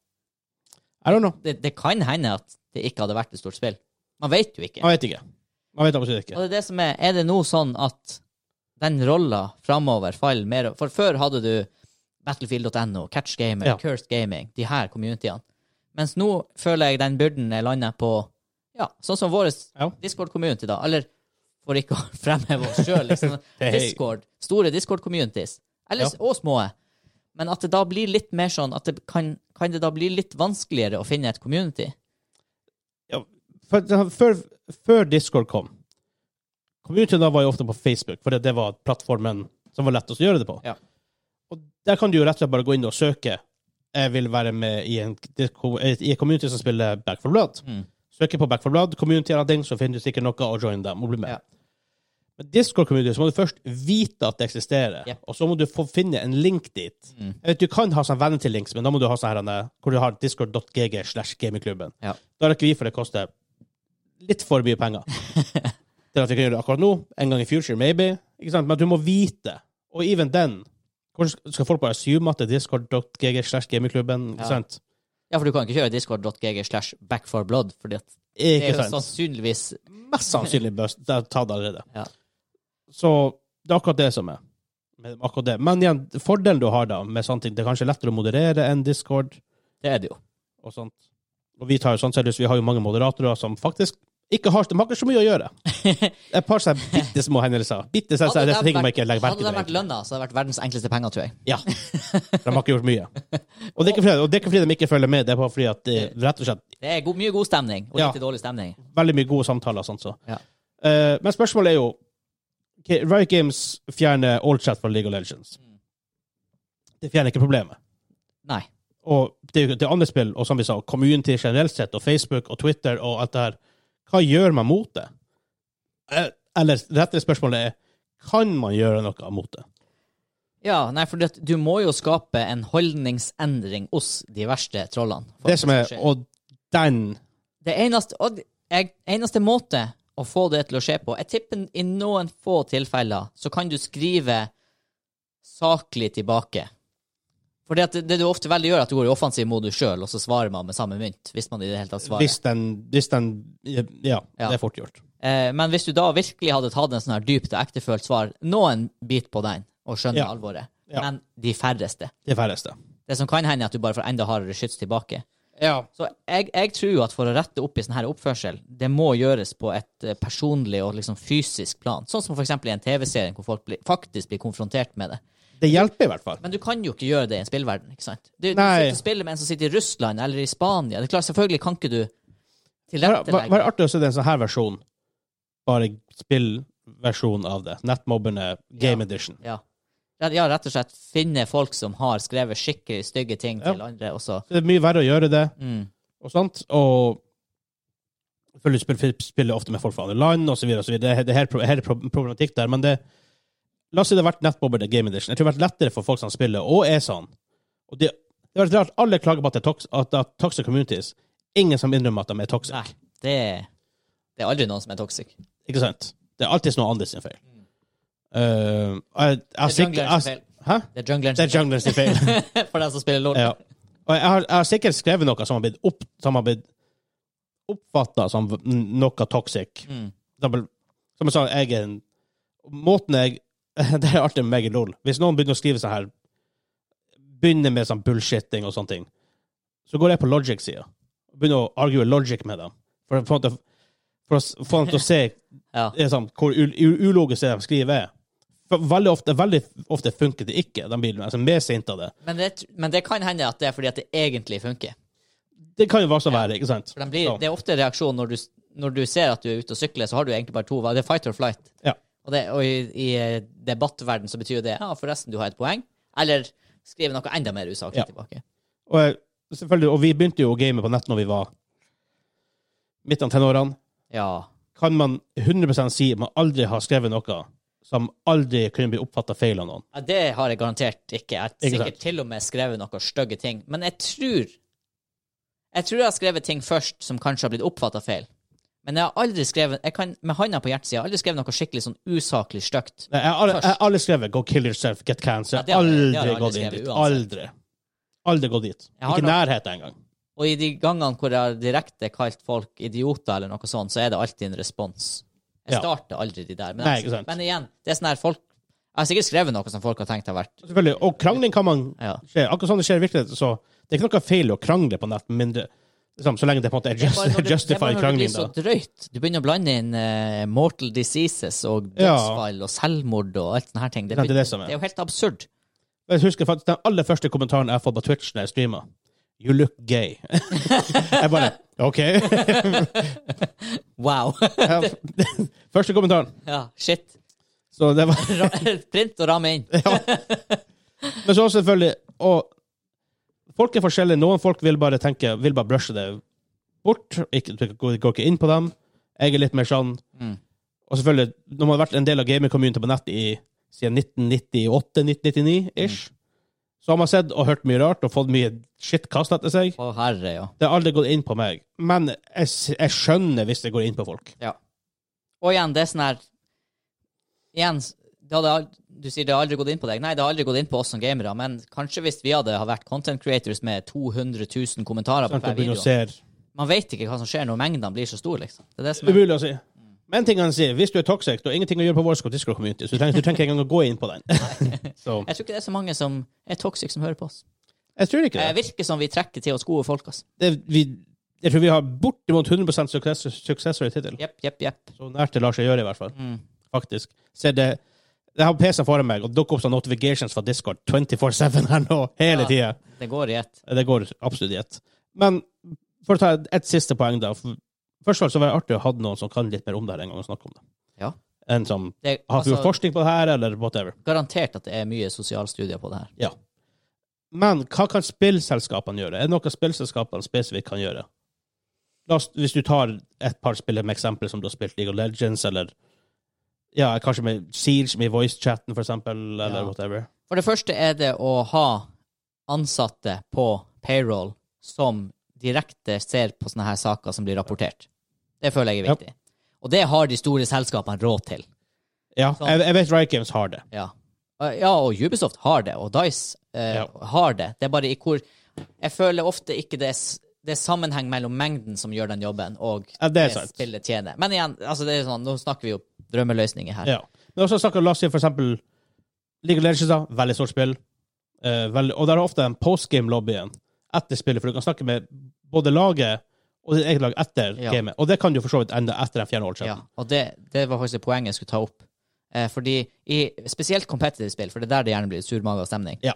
S2: I don't know.
S1: Det, det kan hende at det ikke hadde vært et stort spill. Man vet jo ikke.
S2: Jeg vet ikke. Jeg vet absolutt
S1: Og
S2: ikke.
S1: det er det som er Er det nå sånn at den rolla framover faller mer For før hadde du Battlefield.no, Catch Gamer,
S2: Ja.
S1: Cursed Gaming, de her communityene. Mens nå føler jeg den byrden er landet på ja, sånn som vår
S2: Ja.
S1: Discord-community, da. Eller for ikke å fremheve oss sjøl, liksom.
S2: Hei.
S1: Discord. Store Discord-communities. Eller-
S2: Ja.
S1: Og små. Men at det da blir litt mer sånn at det kan, kan det da bli litt vanskeligere å finne et community?
S2: For, før, før Discord kom, communityen da var jo ofte på Facebook, for det var plattformen som var lettest å gjøre det på.
S1: Ja.
S2: Og der kan du jo rett og slett bare gå inn og søke. Jeg vil være med i en, Disco- i en community som spiller Back for Blood.
S1: Mm.
S2: Søker på Back for Blood, community eller ting, så finner du sikkert noe å joine dem og bli med.
S1: Ja.
S2: Men Discord-community, så må du først vite at det eksisterer,
S1: Yep.
S2: og så må du få finne en link dit.
S1: Mm.
S2: Jeg vet, du kan ha sånn venner til links, men da må du ha sånn her, eh, hvor du har discord.gg slash gamingklubben.
S1: Ja.
S2: Da rekker vi, for det koster litt for mye penger. til at vi kan gjøre det akkurat nå, en gang i future, maybe. Ikke sant? Men du må vite, og even den, hvordan skal- skal folk bare assume at det er discord.gg slash gamingklubben, ikke
S1: Ja.
S2: sant?
S1: Ja, for du kan ikke kjøre discord.gg slash backforblood, fordi at det
S2: Ikke
S1: er jo
S2: sant?
S1: sannsynligvis
S2: Mest sannsynlig bør det er tatt allerede.
S1: Ja.
S2: Så det er akkurat det som er. Men, akkurat det. Men igjen, fordelen du har da med sånne ting, det er kanskje lettere å moderere enn Discord
S1: Det er det jo.
S2: og sånt. Og vi tar jo sånn seriøst, vi har jo mange moderatorer som faktisk ikke har, de har ikke så mye å gjøre. Et par sånne bitte små hendelser. Bitte sånne,
S1: Hadde
S2: sånne,
S1: de
S2: ting man
S1: vært-
S2: ikke legger merke
S1: Hadde
S2: til.
S1: det vært
S2: egentlig.
S1: lønna, så hadde det vært verdens enkleste penger, tror jeg.
S2: Ja. De har ikke gjort mye. Og det er ikke fordi, og det er ikke fordi de ikke følger med, det er bare fordi at det er rett og slett
S1: Det er god, mye god stemning, og
S2: Ja.
S1: lite dårlig stemning.
S2: veldig mye gode samtaler. og Sånt, så.
S1: Ja.
S2: Eh, men spørsmålet er jo ok, Riot Games fjerner all chat fra League of Legends.
S1: Mm.
S2: Det fjerner ikke problemet.
S1: Nei.
S2: Og det, er jo- det er andre spill, og som vi sa, community generelt sett, og Facebook og Twitter og alt det her. Hva gjør man mot det? Eh, Eller rettere spørsmålet er kan man gjøre noe mot det?
S1: Ja, nei, for det, du må jo skape en holdningsendring hos de verste trollene. for
S2: Det
S1: at
S2: som er,
S1: skal skje.
S2: Og den
S1: det eneste, og det- jeg, eneste måte å få det til å skje på Jeg tipper i noen få tilfeller så kan du skrive saklig tilbake. For det, det du ofte veldig gjør, er at du går i offensiv modus sjøl, og så svarer man med samme mynt. Hvis man i det hele tatt svarer.
S2: hvis, den hvis den Ja,
S1: Ja.
S2: det er fort gjort.
S1: Eh, men hvis du da virkelig hadde tatt en sånn her dypt og ektefølt svar, noen bit på den, og skjønner
S2: Ja.
S1: alvoret,
S2: Ja.
S1: men de færreste.
S2: De færreste.
S1: Det som kan hende, er at du bare får enda hardere skyts tilbake.
S2: Ja.
S1: Så jeg, jeg tror at for å rette opp i sånn her oppførsel, det må gjøres på et eh, personlig og liksom fysisk plan. Sånn som for eksempel i en TV-serie hvor folk blir, faktisk blir konfrontert med det.
S2: Det hjelper i hvert fall.
S1: Men du kan jo ikke gjøre det i en spillverden, ikke sant? Du, du
S2: Nei.
S1: sitter og spiller med en som sitter i Russland eller i Spania. Det er klart, selvfølgelig kan ikke du
S2: Hva hva
S1: tilrettelegge.
S2: er artig å se det er en sånn her versjon? Bare spillversjon av det. Nettmobberne Game
S1: Ja.
S2: Edition.
S1: Ja. Rett- ja, rett og slett finne folk som har skrevet skikkelig stygge ting
S2: Ja.
S1: til andre, og så
S2: Så det er mye verre å gjøre det.
S1: mm.
S2: og sånt. Og selvfølgelig spiller, spiller ofte med folk fra andre land osv. Det er, det er, pro- her er pro- problematikk der. Men det, la oss si det har vært nettmobber til Game Edition. Jeg tror det har vært lettere for folk som spiller, og er sånn. Og det, det har vært rart. Alle klager på at det er tox, at, at toxic communities. Ingen som innrømmer at de er toxic.
S1: Nei, det, det er aldri noen som er toxic.
S2: Ikke sant? Det er alltid noen andre sin feil. Uh, jeg,
S1: Mm.
S2: jeg,
S1: Det er jungleren
S2: jeg,
S1: sin
S2: jeg,
S1: feil.
S2: Hæ?
S1: Det er jungleren
S2: Det er jungleren sin feil.
S1: for den som spiller LOL.
S2: Ja. Og Og jeg har, jeg har sikkert skrevet noe som har blitt, opp, som har blitt oppfatta som v- noe toxic.
S1: Mm.
S2: For eksempel, Som jeg sa, jeg er en Måten jeg Det er alltid meg i LOL. Hvis noen begynner å skrive sånn her Begynner med sånn bullshitting og sånne ting, så går jeg på logic-sida. Begynner å argue logic med dem. For, å- for, å- for å s- få dem til å se
S1: Ja.
S2: det er sånn, hvor u- u- ulogisk det de skriver, er. For veldig ofte, veldig ofte funker det ikke. De blir altså, mer sinte av det.
S1: Men, det, men det kan hende at det er fordi at det egentlig funker.
S2: Det kan jo også være, ikke sant?
S1: For den blir,
S2: Ja.
S1: Det er ofte reaksjon når du, når du ser at du er ute og sykler, så har du egentlig bare to valg. Det er fight or flight.
S2: Ja.
S1: Og, det, og i, i debattverden så betyr jo det ja, forresten, du har et poeng. Eller skrive noe enda mer usaklig
S2: Ja.
S1: tilbake.
S2: Og, jeg- selvfølgelig, og vi begynte jo å game på nett når vi var midt av tenårene.
S1: Ja.
S2: Kan man 100 si at man aldri har skrevet noe som aldri kunne bli oppfatta feil av noen?
S1: ja. Det har jeg garantert ikke. Jeg har
S2: Ikke
S1: sikkert til og med skrevet noen stygge ting. Men jeg tror Jeg tror jeg har skrevet ting først som kanskje har blitt oppfatta feil. Men jeg har aldri skrevet jeg kan, med handa på hjertesida aldri skrevet noe skikkelig sånn usaklig stygt.
S2: Nei, Jeg har aldri-
S1: Først.
S2: jeg har aldri skrevet 'go kill yourself, get cancer'.
S1: Ja, det har jeg- det har jeg
S2: aldri
S1: aldri
S2: gått inn
S1: skrevet
S2: dit.
S1: uansett.
S2: Aldri. Aldri gått dit.
S1: Jeg har
S2: Ikke i
S1: nok-
S2: nærheten engang.
S1: Og i de gangene hvor jeg har direkte kalt folk idioter eller noe sånt, så er det alltid en respons. Jeg
S2: Ja.
S1: starter aldri de der. Men,
S2: Nei, ikke sant.
S1: men igjen, det er sånn her folk Jeg har sikkert skrevet noe som folk har tenkt har vært
S2: Selvfølgelig. Og krangling kan man
S1: ja.
S2: skje. Akkurat sånn det skjer i virkeligheten, så det er ikke noe feil å krangle på nett, med mindre liksom, Så lenge det på en måte er
S1: Det er bare
S2: just,
S1: når det-
S2: justify
S1: Det er bare når det blir
S2: krangling,
S1: så
S2: da.
S1: drøyt. Du begynner å blande inn eh, mortal diseases og
S2: Ja.
S1: dødsfall og selvmord og alt sånne her ting. Det,
S2: Ja, det er det
S1: begynner-
S2: som er.
S1: det er jo helt absurd.
S2: Jeg husker faktisk den aller første kommentaren jeg har fått på Twitch når jeg streamer. You look gay. jeg bare OK.
S1: Wow.
S2: første kommentaren.
S1: ja, shit.
S2: Så det var
S1: Ra- Print og ramme inn.
S2: Men så selvfølgelig Og folk er forskjellige. Noen folk vil bare tenke Vil bare brushe det bort. Ikke, du går går ikke inn på dem. Jeg er litt mer sånn.
S1: Mm.
S2: Og selvfølgelig, når man har vært en del av gaming-community på nett i siden 1998-1999-ish, så har man sett og hørt mye rart og fått mye shit kastet etter seg.
S1: Å herre, ja.
S2: Det har aldri gått inn på meg. Men jeg, s- jeg skjønner hvis det går inn på folk.
S1: Og igjen, det er sånn her Igjen, det hadde, ald- du sier det har aldri gått inn på deg. Nei, det har aldri gått inn på oss som gamere, men kanskje hvis vi hadde ha vært content creators med 200 000 kommentarer på
S2: Sånn,
S1: hver
S2: at begynner
S1: video
S2: å se
S1: Man vet ikke hva som skjer når mengdene blir så store, liksom. Det er det som er
S2: Umulig å si.
S1: Mm.
S2: Men en ting han sier, hvis du er toxic, du har ingenting å gjøre på vår Discord community, så du trenger, du trenger ikke engang å gå inn på den. Så,
S1: Jeg tror ikke det er så mange som er toxic som hører på oss.
S2: jeg tror ikke
S1: Det
S2: det.
S1: Eh, virker som vi trekker til oss gode folk, altså.
S2: det vi, jeg tror vi har bortimot 100 suksess, suksess rate hittil.
S1: Jepp, jepp, jepp.
S2: Så nært det lar seg gjøre, i hvert fall.
S1: Mm.
S2: Faktisk. Se det, jeg har PC-en foran meg, og det dukker opp sånne notifications fra Discord 24-7 her nå, hele
S1: Ja.
S2: tida.
S1: Det går i ett.
S2: Det går absolutt i ett. Men for å ta et, et siste poeng, da. For- Først og fremst så var det artig å ha noen som kan litt mer om det her en gang, og snakke om det.
S1: Ja.
S2: En som
S1: Det er
S2: har gjort
S1: altså,
S2: forskning på det her, eller whatever.
S1: garantert at det er mye sosialstudier på det her.
S2: Men hva kan spillselskapene gjøre? Er det noe spillselskapene spesifikt kan gjøre? La oss, hvis du tar et par spill med eksempel som du har spilt League of Legends, eller ja, kanskje med Siege med voice-chatten, for eksempel, eller
S1: Ja.
S2: whatever.
S1: For det første er det å ha ansatte på payroll som direkte ser på sånne her saker som blir rapportert. Det føler jeg er
S2: Ja.
S1: viktig. Og det har de store selskapene råd til.
S2: Ja,
S1: Sånn.
S2: jeg, jeg vet Riot Games har det.
S1: Ja, Eh, ja og Ubisoft har det, og Dice eh,
S2: Ja.
S1: har det. Det er bare i hvor Jeg føler ofte ikke det er, s- det er sammenheng mellom mengden som gjør den jobben, og
S2: Ja, det er sant.
S1: spillet tjener. Men igjen, altså det er sånn, nå snakker vi jo drømmeløsninger her.
S2: Ja. Men også snakker la oss si for eksempel League of Legends, da, veldig stort spill. Eh, veldig, og der er ofte den postgame-lobbyen etter spillet, for du kan snakke med både laget og ditt eget lag etter
S1: Ja.
S2: gamet. Og det kan du for så vidt enda etter den fjerne
S1: Ja,
S2: årschatten.
S1: og det, det var faktisk det poenget jeg skulle ta opp. Eh, fordi i spesielt competitive spill, for det er der det gjerne blir surmaga stemning,
S2: Ja.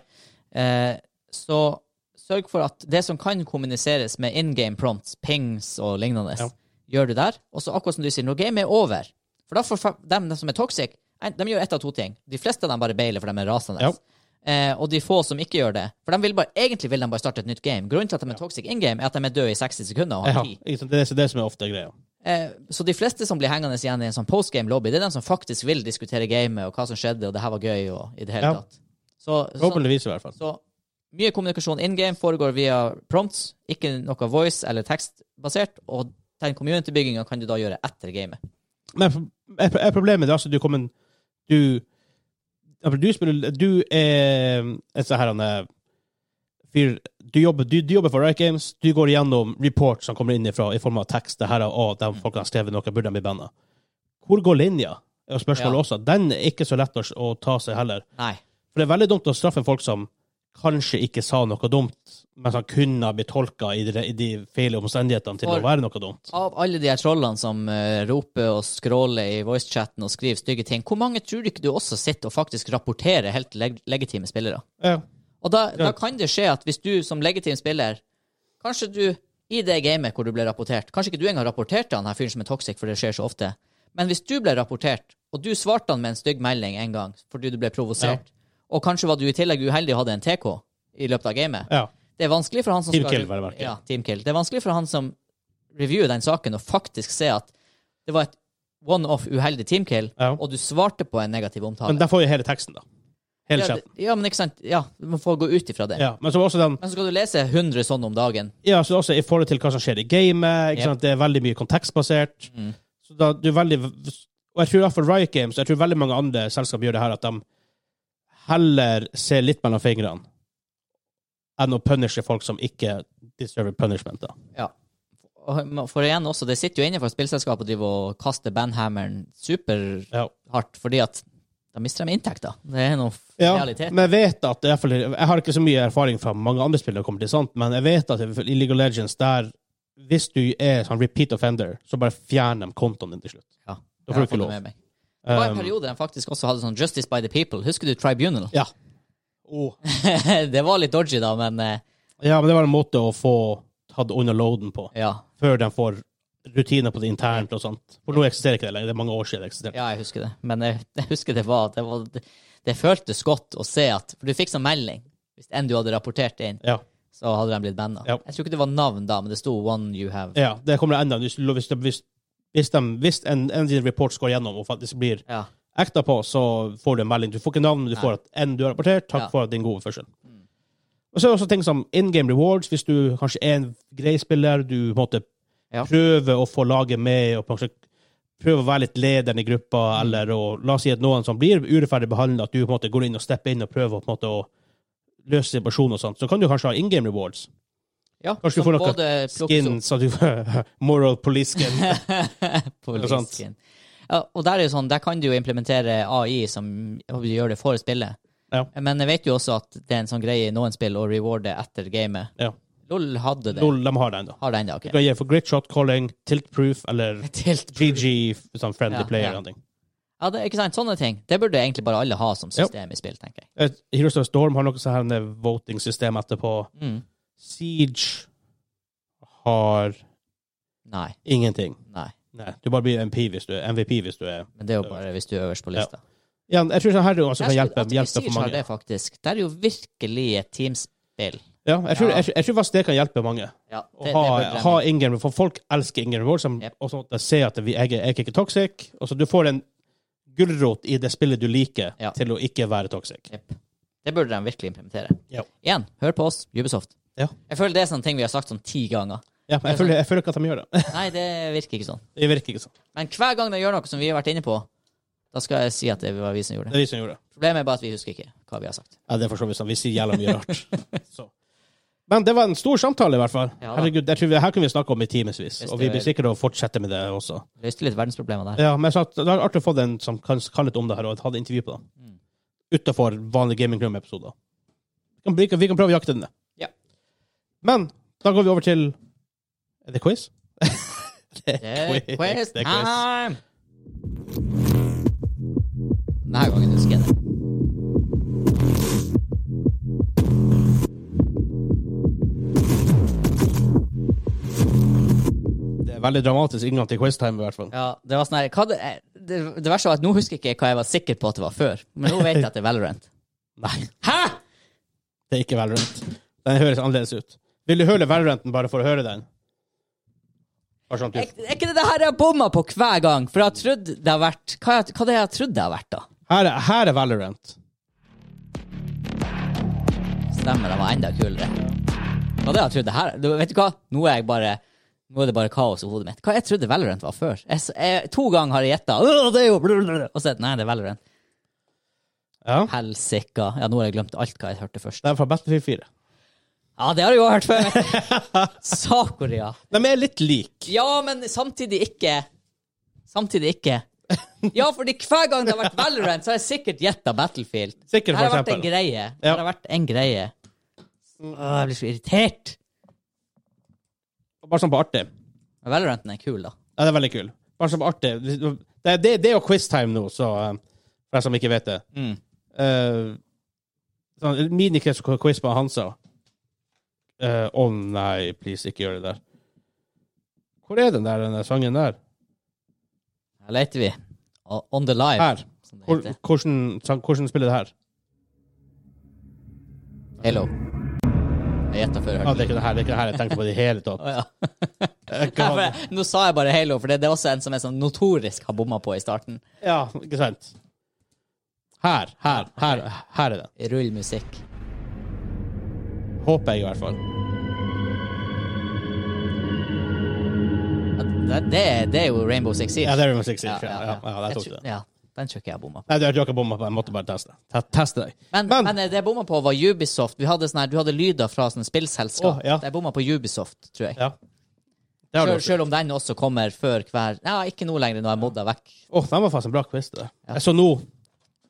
S1: eh, så sørg for at det som kan kommuniseres med in game prompts, pings og lignende,
S2: Ja.
S1: gjør du der. Og så akkurat som du sier, når gamet er over For da får fa- dem, dem som er toxic, en- de gjør ett av to ting. De fleste av dem bare bailer, for de er rasende.
S2: Ja.
S1: Eh, og de få som ikke gjør det. For de vil bare, egentlig vil de bare starte et nytt game. Grunnen til at de er toxic in game, er at de er døde i 60 sekunder og har
S2: Ja,
S1: tid.
S2: ikke sant? det er det som er ofte greia.
S1: Eh, så de fleste som blir hengende igjen i en sånn postgame-lobby, det er de som faktisk vil diskutere gamet og hva som skjedde, og det her var gøy, og i det hele
S2: Ja.
S1: tatt. Så, sånn,
S2: Forhåpentligvis, i hvert fall.
S1: så mye kommunikasjon in game foregår via prompts, ikke noe voice- eller tekstbasert, og den community-bygginga kan du da gjøre etter gamet.
S2: Men er er problemet det altså du kommer Du, ja, for du spiller Du er et sånn her han er Fyr, du jobber, du, du jobber for Riot Games, du går igjennom reports som kommer innifra i form av tekst. det her er, å, de folkene har skrevet noe, burde de bli banna? Hvor går linja? er jo spørsmålet
S1: Ja.
S2: også. Den er ikke så lett å, å ta seg heller.
S1: Nei.
S2: For det er veldig dumt å straffe folk som kanskje ikke sa noe dumt, men som kunne ha blitt tolka i de, i de feil omstendighetene til
S1: For-
S2: å være noe dumt.
S1: Av alle de her trollene som eh, roper og scroller i voicechatten og skriver stygge ting, hvor mange tror du ikke du også sitter og faktisk rapporterer helt leg legitime spillere?
S2: Ja.
S1: Og da, da kan det skje at hvis du som legitim spiller Kanskje du i det gamet hvor du ble rapportert Kanskje ikke du engang rapporterte han her fyren som er toxic, for det skjer så ofte. Men hvis du ble rapportert, og du svarte han med en stygg melding en gang fordi du ble provosert, og kanskje var du i tillegg uheldig og hadde en TK i løpet av gamet
S2: ja.
S1: Det er vanskelig for han som
S2: Team
S1: skal
S2: kill, vel å merke.
S1: ja, team kill. Det er vanskelig for han som reviewer den saken, å faktisk se at det var et one-off uheldig team kill,
S2: Ja.
S1: og du svarte på en negativ omtale.
S2: Men der får jo hele teksten, da. Hele
S1: ja,
S2: chatten.
S1: det- ja, men ikke sant? Ja, du må få gå ut ifra det.
S2: Ja. Men så også den
S1: Men så skal du lese 100 sånne om dagen.
S2: Ja, så også i forhold til hva som skjer i gamet.
S1: Yep.
S2: Ikke
S1: Mm.
S2: sant? Det er veldig mye kontekstbasert. Så da du er veldig Og jeg tror i hvert fall Riot Games og jeg tror veldig mange andre selskap gjør det her, at de heller ser litt mellom fingrene enn å punishe folk som ikke deserve punishment. da.
S1: Ja. Og for igjen også, det sitter jo innenfor spillselskapet å drive og kaste bandhammeren superhardt,
S2: Ja.
S1: fordi at da mister de inntekter. Det er noe f-
S2: Ja,
S1: realitet.
S2: men jeg vet at i hvert fall- Jeg har ikke så mye erfaring fra mange andre spillere, kommer til sant, men jeg vet at i hvert fall i League of Legends, der hvis du er sånn repeat offender, så bare fjerner de kontoen din til slutt.
S1: Ja.
S2: Da
S1: Jeg har
S2: får du ikke
S1: fått det
S2: lov.
S1: med meg. Det var en
S2: Um,
S1: periode de faktisk også hadde sånn Justice by the People. Husker du Tribunal?
S2: Ja. Og-
S1: det var litt dodgy, da, men eh,
S2: ja, men det var en måte å få tatt under loaden på,
S1: ja.
S2: før de får rutiner på det internt og sånt. For nå eksisterer ikke det lenger, det er mange år siden det eksisterer.
S1: Ja, jeg husker det. Men jeg, jeg husker det var Det, var, det, det føltes godt å se at For du fikk sånn melding. Hvis enn du hadde rapportert inn,
S2: Ja.
S1: så hadde de blitt banna.
S2: Ja.
S1: Jeg tror ikke det var navn da, men det sto 'one you have'.
S2: ja, det kommer enda. Hvis, hvis, hvis, hvis, de, hvis en, en av dine reports går gjennom og faktisk blir
S1: Ja.
S2: acta på, så får du en melding. Du får ikke navn, men du får at enn du har rapportert. Takk
S1: Ja. Mm.
S2: for din gode oppførsel. Og så er det også ting som in game rewards. Hvis du kanskje er en grei spiller, du måtte
S1: Ja.
S2: prøve å få laget med, og kanskje prøve å være litt lederen i gruppa,
S1: Mm.
S2: eller å, la oss si at noen som blir urettferdig behandlet, at du på en måte går inn og stepper inn og prøver på en måte å løse situasjonen og sånt, så kan du kanskje ha in game rewards.
S1: Ja,
S2: Kanskje du
S1: som
S2: får noe
S1: både plukkes
S2: Skin, så du Moral police skin.
S1: opp på
S2: Eller sant?
S1: disken. Ja, og der er jo sånn, der kan du jo implementere AI som gjør det for spillet.
S2: Ja.
S1: Men jeg vet jo også at det er en sånn greie i noen spill å rewarde etter gamet.
S2: Ja.
S1: LOL hadde det.
S2: Lol, de har det ennå.
S1: Har det ennå,
S2: Du
S1: OK.
S2: kan gi for grit shot calling, tilt proof, eller
S1: Tilt.
S2: GG, sånn friendly
S1: Ja,
S2: player
S1: ja.
S2: eller noe.
S1: Ja, det, ikke sant? Sånne ting. Det burde egentlig bare alle ha som system i spill, tenker jeg.
S2: Eh, Heroes of Storm har noe sånn her voting-system etterpå.
S1: Mm.
S2: Siege har
S1: Nei.
S2: ingenting.
S1: Nei.
S2: Nei, du bare blir MP hvis du er MVP hvis du er
S1: Men det er jo bare hvis du er øverst på lista.
S2: ja, Jeg tror sånn her også kan
S1: Jeg
S2: hjelpe,
S1: skulle- at
S2: hjelpe
S1: Siege
S2: for
S1: har
S2: mange.
S1: Det, faktisk. det er jo virkelig et teamspill.
S2: Ja, jeg, tror,
S1: Ja.
S2: jeg, tror- jeg tror faktisk det kan hjelpe mange.
S1: Ja, det,
S2: Å
S1: det
S2: ha,
S1: burde de-
S2: ha ingen For folk elsker ingen reward, som,
S1: Yep.
S2: og sånn at de ser at vi, jeg, er- jeg er ikke toxic. Og så du får en gulrot i det spillet du liker,
S1: Ja.
S2: til å ikke være toxic.
S1: Jepp. Det burde de virkelig implementere.
S2: Ja.
S1: Igjen, hør på oss, Ubisoft.
S2: Ja.
S1: Jeg føler det er sånne ting vi har sagt sånn ti ganger.
S2: Ja, men jeg, føler, jeg føler ikke at de gjør det.
S1: Nei, det virker ikke sånn.
S2: Det virker ikke sånn.
S1: Men hver gang de gjør noe som vi har vært inne på, da skal jeg si at det var vi som gjorde
S2: Det
S1: det.
S2: er vi som gjorde det.
S1: Problemet er bare at vi husker ikke hva vi har sagt.
S2: Ja, det er for så vidt sant. Vi sier jævla mye rart. Så. Men det var en stor samtale, i hvert fall.
S1: Ja da.
S2: Herregud, jeg tror vi, Her kunne vi snakke om i timevis,
S1: Hvis
S2: og
S1: det
S2: vi blir
S1: er-
S2: sikre å fortsette med det også.
S1: Løste litt verdensproblemer der.
S2: Ja, men jeg sa at Det er artig å få den som kan, kan litt om det her, og ha et intervju på det.
S1: Mm.
S2: Utenfor vanlige Gaming Club-episoder. Vi, kan- vi, kan- vi kan prøve å jakte den ned.
S1: Ja.
S2: Men da går vi over til Er det quiz? det
S1: Det er quiz
S2: Det er quiz.
S1: time! Denne gangen husker jeg det.
S2: Det er veldig dramatisk inngang til quiztime, i hvert fall.
S1: Ja, det var sånn her hva det, det, det verste var at nå husker jeg ikke hva jeg var sikker på at det var før, men nå vet jeg at det er Valorant.
S2: Nei,
S1: Hæ?!
S2: det er ikke Valorant. Den høres annerledes ut. Vil du høre Valoranten bare for å høre den? Bare sånn at du
S1: Er, er ikke det det her jeg har bomma på hver gang? For jeg har trodd det har vært Hva, jeg- hva det er jeg har trodd det har vært, da?
S2: Her er, her er Valorant.
S1: Stemmer, det var enda kulere. Hva det jeg trodde her du, Vet du hva? Nå er, jeg bare, nå er det bare kaos i hodet mitt. Hva jeg trodde Valorant var før? Jeg, s- jeg, to ganger har jeg gjetta, «Åh, det er jo blablabla», og så er det, nei, det er Valorant.
S2: Ja.
S1: Helsika. Ja, nå har jeg glemt alt hva jeg hørte først.
S2: Det er fra Battlefield 4.
S1: Ja, det har jeg jo hørt før. Sakuria.
S2: De er litt like.
S1: Ja, men samtidig ikke. Samtidig ikke. Ja, fordi hver gang det har vært Valorant, så har jeg sikkert gjetta Battlefield.
S2: Sikkert,
S1: Her har
S2: for
S1: vært en
S2: eksempel.
S1: greie. Her
S2: Ja.
S1: har vært en greie. Åh, jeg blir så irritert.
S2: Bare sånn på artig.
S1: Men Valoranten er kul, da.
S2: Ja, det er veldig kul. Bare sånn på artig. Det, det, det er jo quiztime nå, så eh, for deg som ikke vet det. Eh, sånn, Minikrets og quiz på Hansa. Eh, Å nei, please, ikke gjør det der. Hvor er den der denne sangen der?
S1: Her leter vi. O- On the live,
S2: Her.
S1: som det
S2: Hvor,
S1: heter.
S2: hvordan, sang, hvordan spiller det her?
S1: Hello. Jeg gjetta før.
S2: Ja, det er ikke det her det er ikke det her jeg tenker på i det hele tatt.
S1: Oh, ja.
S2: Eh,
S1: Ja,
S2: hva-
S1: for, nå sa jeg bare Halo, for det, det er også en som jeg sånn notorisk har bomma på i starten.
S2: Ja, ikke sant? Her, her, her, her er den.
S1: Rull musikk.
S2: Håper jeg, i hvert fall.
S1: Ja, Det, det, det er jo Rainbow Six Siege.
S2: Ja, det er Rainbow Six Siege. Ja, ja, ja, der
S1: Jeg
S2: tok du
S1: tror-
S2: det.
S1: ja, den tror ikke jeg bomma på.
S2: Nei, du har ikke bomma på den. Jeg måtte bare teste. Te teste deg.
S1: Men, men, eh, det jeg bomma på, var Ubisoft. Vi hadde sånn her, du hadde lyder fra sånne spillselskap.
S2: Åh, ja.
S1: Jeg bomma på Ubisoft, tror jeg.
S2: Ja. Det har du
S1: Sjøl,
S2: også.
S1: sjøl om den også kommer før hver Ja, ikke nå lenger, når jeg modda vekk.
S2: Åh, den var faktisk en bra quiz. det. Jeg så nå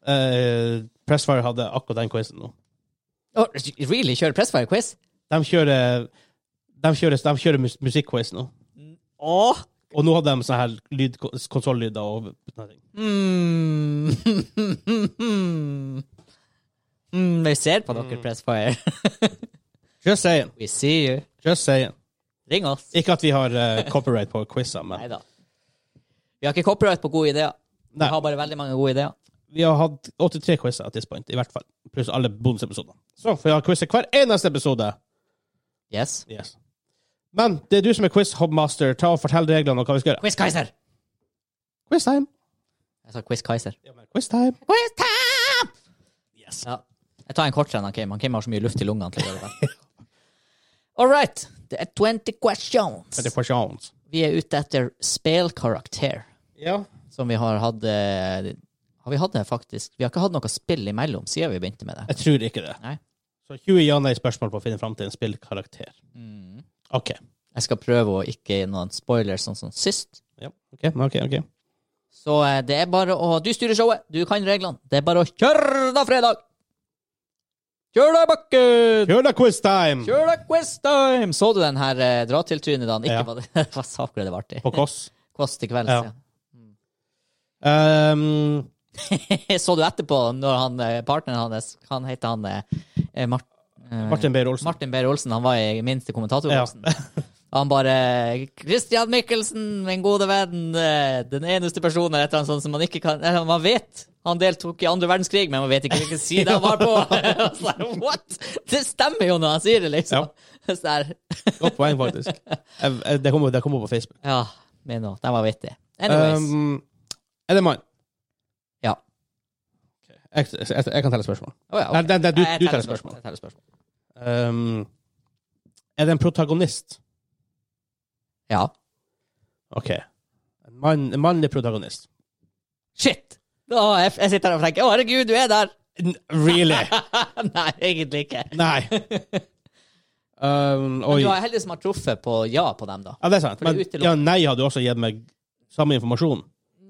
S2: eh, Pressfire hadde akkurat den quizen nå.
S1: Åh, really? Kjører Pressfire quiz?
S2: De kjører De kjører, de kjører mus musikkquiz nå.
S1: Åh!
S2: Og nå hadde de sånne her lyd, konsollyder og sånne ting.
S1: Mm. mm, vi ser på dere, Pressfire.
S2: Just saying.
S1: We see you.
S2: Just saying.
S1: Ring oss.
S2: Ikke at vi har eh, copyright på quizer, men
S1: Nei da. Vi har ikke copyright på gode ideer.
S2: Nei.
S1: Vi har bare veldig mange gode ideer.
S2: vi har hatt 83 quizer at this point, i hvert fall. Pluss alle bonusepisoder. Så får vi ha quizer hver eneste episode.
S1: Yes.
S2: Yes. Men det er du som er quiz-hobmaster. Ta og Fortell reglene og hva vi skal gjøre.
S1: Quiz Kaiser!
S2: Quiz time.
S1: Jeg sa Quiz Kaiser.
S2: Quiz time.
S1: Quiz time! Yes. Ja. Jeg tar en kortere enn han Kim. Han Kim har så mye luft i lungene. til å gjøre det. All right. Det er 20 questions.
S2: Det er questions.
S1: Vi er ute etter spillkarakter,
S2: Ja.
S1: som vi har hatt eh, Har vi hatt det, faktisk? Vi har ikke hatt noe spill imellom siden vi begynte med det.
S2: Jeg tror ikke det.
S1: Nei.
S2: Så 20 ja-nei-spørsmål på å finne fram til en spillkarakter.
S1: Mm.
S2: OK.
S1: Jeg skal prøve å ikke gi noen spoilers, sånn som sist.
S2: Ja. OK, OK. ok.
S1: Så eh, det er bare å Du styrer showet, du kan reglene. Det er bare å kjøre da fredag! Kjør da bakken!
S2: Kjør da quiz time!
S1: Kjør da quiz time! Så du den her eh, dra-til-trynet da han ikke
S2: Ja.
S1: var det? Hva saker det var artig?
S2: På Kåss.
S1: Kåss til kvelds,
S2: Ja.
S1: ja.
S2: Um,
S1: Så du etterpå, når han, eh, partneren hans, han heter han eh, Mart, eh,
S2: Martin Beyer Olsen.
S1: Martin Beyer Olsen, han var i minste kommentatorklassen. han bare 'Christian Michelsen, min gode venn', eh, den eneste personen eller et eller annet sånt som man ikke kan eller Man vet han deltok i andre verdenskrig, men man vet ikke hvilken side han var på. Og så er det, What?! Det stemmer jo når han sier det, liksom. Så der.
S2: Godt poeng, faktisk. Jeg- jeg- Det kommer kom opp på Facebook.
S1: Ja, men nå, den var vittig. Anyways.
S2: Um, er det mine?
S1: ja.
S2: Jeg, jeg, jeg kan telle spørsmål.
S1: Å ja, ok.
S2: Nei, nei, nei, du,
S1: Jeg
S2: du teller spørsmål.
S1: Jeg teller spørsmål.
S2: Um, er det en protagonist?
S1: Ja.
S2: OK. En, mann, en mannlig protagonist.
S1: Shit! Å, jeg, jeg sitter her og tenker 'Å, herregud, du er der'.
S2: N- Really?
S1: Nei, egentlig ikke.
S2: Nei. Um, oi.
S1: Du er heldig som har truffet på ja på dem, da.
S2: Ja, det er sant.
S1: For det
S2: Men
S1: utelukker-
S2: ja, nei hadde jo også gitt meg samme informasjon.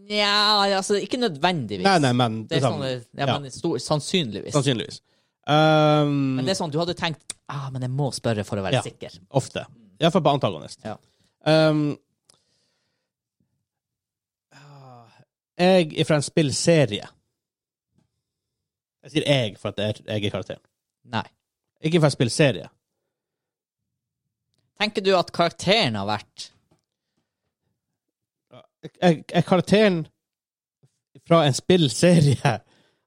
S1: Nja, altså, ikke nødvendigvis.
S2: Nei, nei, men
S1: det
S2: det
S1: er sånn,
S2: samme.
S1: ja, men stor, sannsynligvis.
S2: Sannsynligvis. Um,
S1: Men det er sånn, du hadde tenkt ah, men jeg må spørre for å være
S2: Ja.
S1: sikker.
S2: Ofte. Iallfall på antagonist.
S1: Ja.
S2: Um, jeg er fra en spillserie. Jeg sier jeg, for at jeg, jeg er karakteren.
S1: Nei.
S2: Ikke fra en spillserie.
S1: Tenker du at karakteren har vært
S2: Jeg jeg er karakteren fra en spillserie. Det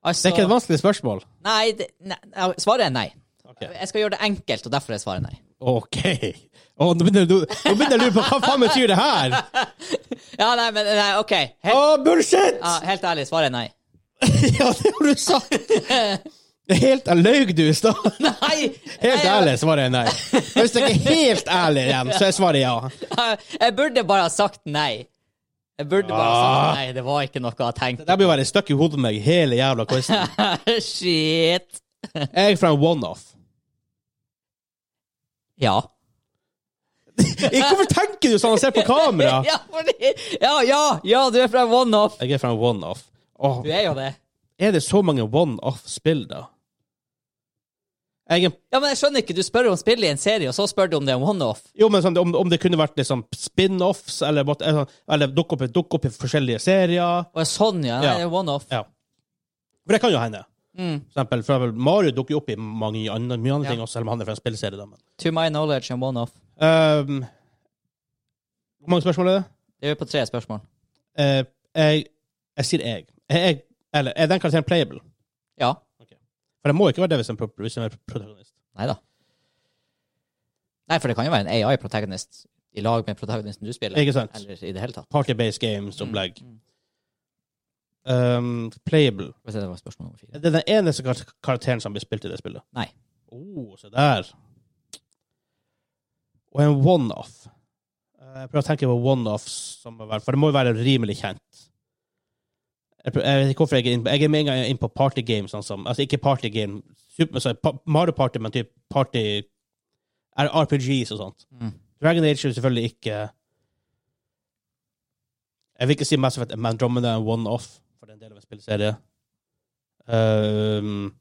S1: Altså
S2: er ikke et vanskelig spørsmål.
S1: Nei, det, nei, ja, svaret er nei.
S2: Ok.
S1: Jeg skal gjøre det enkelt, og derfor er svaret nei.
S2: OK. Å, nå begynner du nå begynner jeg å lure på hva faen betyr det her?
S1: Ja, nei, men nei, OK.
S2: Å,
S1: Helt,
S2: bullshit!
S1: ja, helt ærlig, svaret er nei.
S2: Ja, det har du sagt! Det er helt Jeg løy du i stad.
S1: Nei!
S2: Helt
S1: nei,
S2: ærlig svarer jeg nei. Men Hvis jeg er helt ærlig igjen, så er svaret ja.
S1: Jeg, jeg burde bare ha sagt nei. Jeg burde bare ha
S2: Ah.
S1: sagt nei. Det var ikke noe jeg tenkte.
S2: Det blir bare stuck i hodet meg hele jævla quizen.
S1: Shit.
S2: Jeg er fra en one-off.
S1: Ja.
S2: Hvorfor tenker du sånn og ser på kamera?
S1: Ja, fordi, ja, ja, ja, du er fra OneOff.
S2: Jeg er fra en one-off. Åh,
S1: Du er jo det.
S2: er det så mange one-off-spill, da? Jeg er,
S1: Ja, men jeg skjønner ikke. Du spør om spillet i en serie, og så spør du om det er en one-off.
S2: jo, men sånn, om, om det kunne vært liksom spin-offs, eller, måtte- eller, eller dukke opp, dukke opp i forskjellige serier
S1: Og sånn, ja. Nei,
S2: Ja.
S1: det er one-off.
S2: Ja. For det kan jo hende.
S1: Mm.
S2: For eksempel, for eksempel Mario dukker jo opp i mange andre, mye andre
S1: Ja.
S2: ting, også, selv om han er fra en spillserie. Da, men.
S1: To my knowledge and one-off.
S2: Ehm, hvor mange spørsmål er det?
S1: Det er vi på tre spørsmål.
S2: Eh, jeg, jeg sier jeg. Er jeg. Eller er den karakteren playable?
S1: Ja.
S2: For det må ikke være det hvis en, pro- hvis en er protagonist.
S1: Nei da. Nei, for det kan jo være en AI-protagonist i lag med protagonisten du spiller.
S2: Ikke sant?
S1: Eller i det hele tatt.
S2: Party-based games
S1: Mm,
S2: opplegg.
S1: mm.
S2: Ehm, playable.
S1: Hvis det var spørsmål nummer
S2: Er
S1: fire.
S2: det den eneste kar karakteren som blir spilt i det spillet?
S1: Nei.
S2: Oh, se der. Og en one-off. Eh, Jeg prøver å tenke på one-offs, som må være- for det må jo være rimelig kjent. Jeg, prøver, jeg vet ikke hvorfor jeg er inn på Jeg er med en gang inn på party game, sånn som Altså ikke party game, super, sorry, pa- Mario Party, men typ party er RPGs og sånt.
S1: Mm.
S2: Dragon Age er jo selvfølgelig ikke Jeg vil ikke si Mass Effect, men Andromeda er en one-off, for det er en del av en spillserie. Um,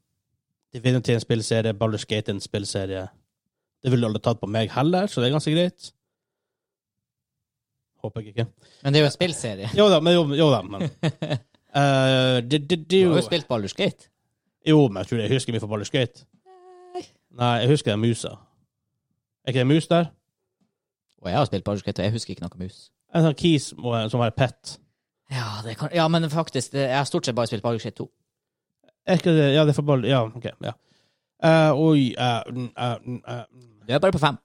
S2: Divinity er en spillserie, Baldur's Gate er en spillserie. Det ville du aldri tatt på meg heller, så det er ganske greit. Håper jeg ikke.
S1: Men det er jo en spillserie.
S2: Jo da, men jo, jo da, men Eh, det, det, det,
S1: Du
S2: jo.
S1: har jo spilt Baldur's Gate.
S2: jo, men jeg tror jeg husker mye fra Baldur's Gate. Nei, jeg husker den musa. Er ikke det en mus der?
S1: Og jeg har spilt Baldur's Gate, og jeg husker ikke noe mus.
S2: En sånn kis må- som har et pet.
S1: Ja, det kan, ja men faktisk, det, jeg har stort sett bare spilt Baldur's Gate 2.
S2: Er ikke det Ja, det er for Baldur's Ja, OK. ja. Eh, oi eh, mm, eh, mm, eh, mm.
S1: Du er bare på fem.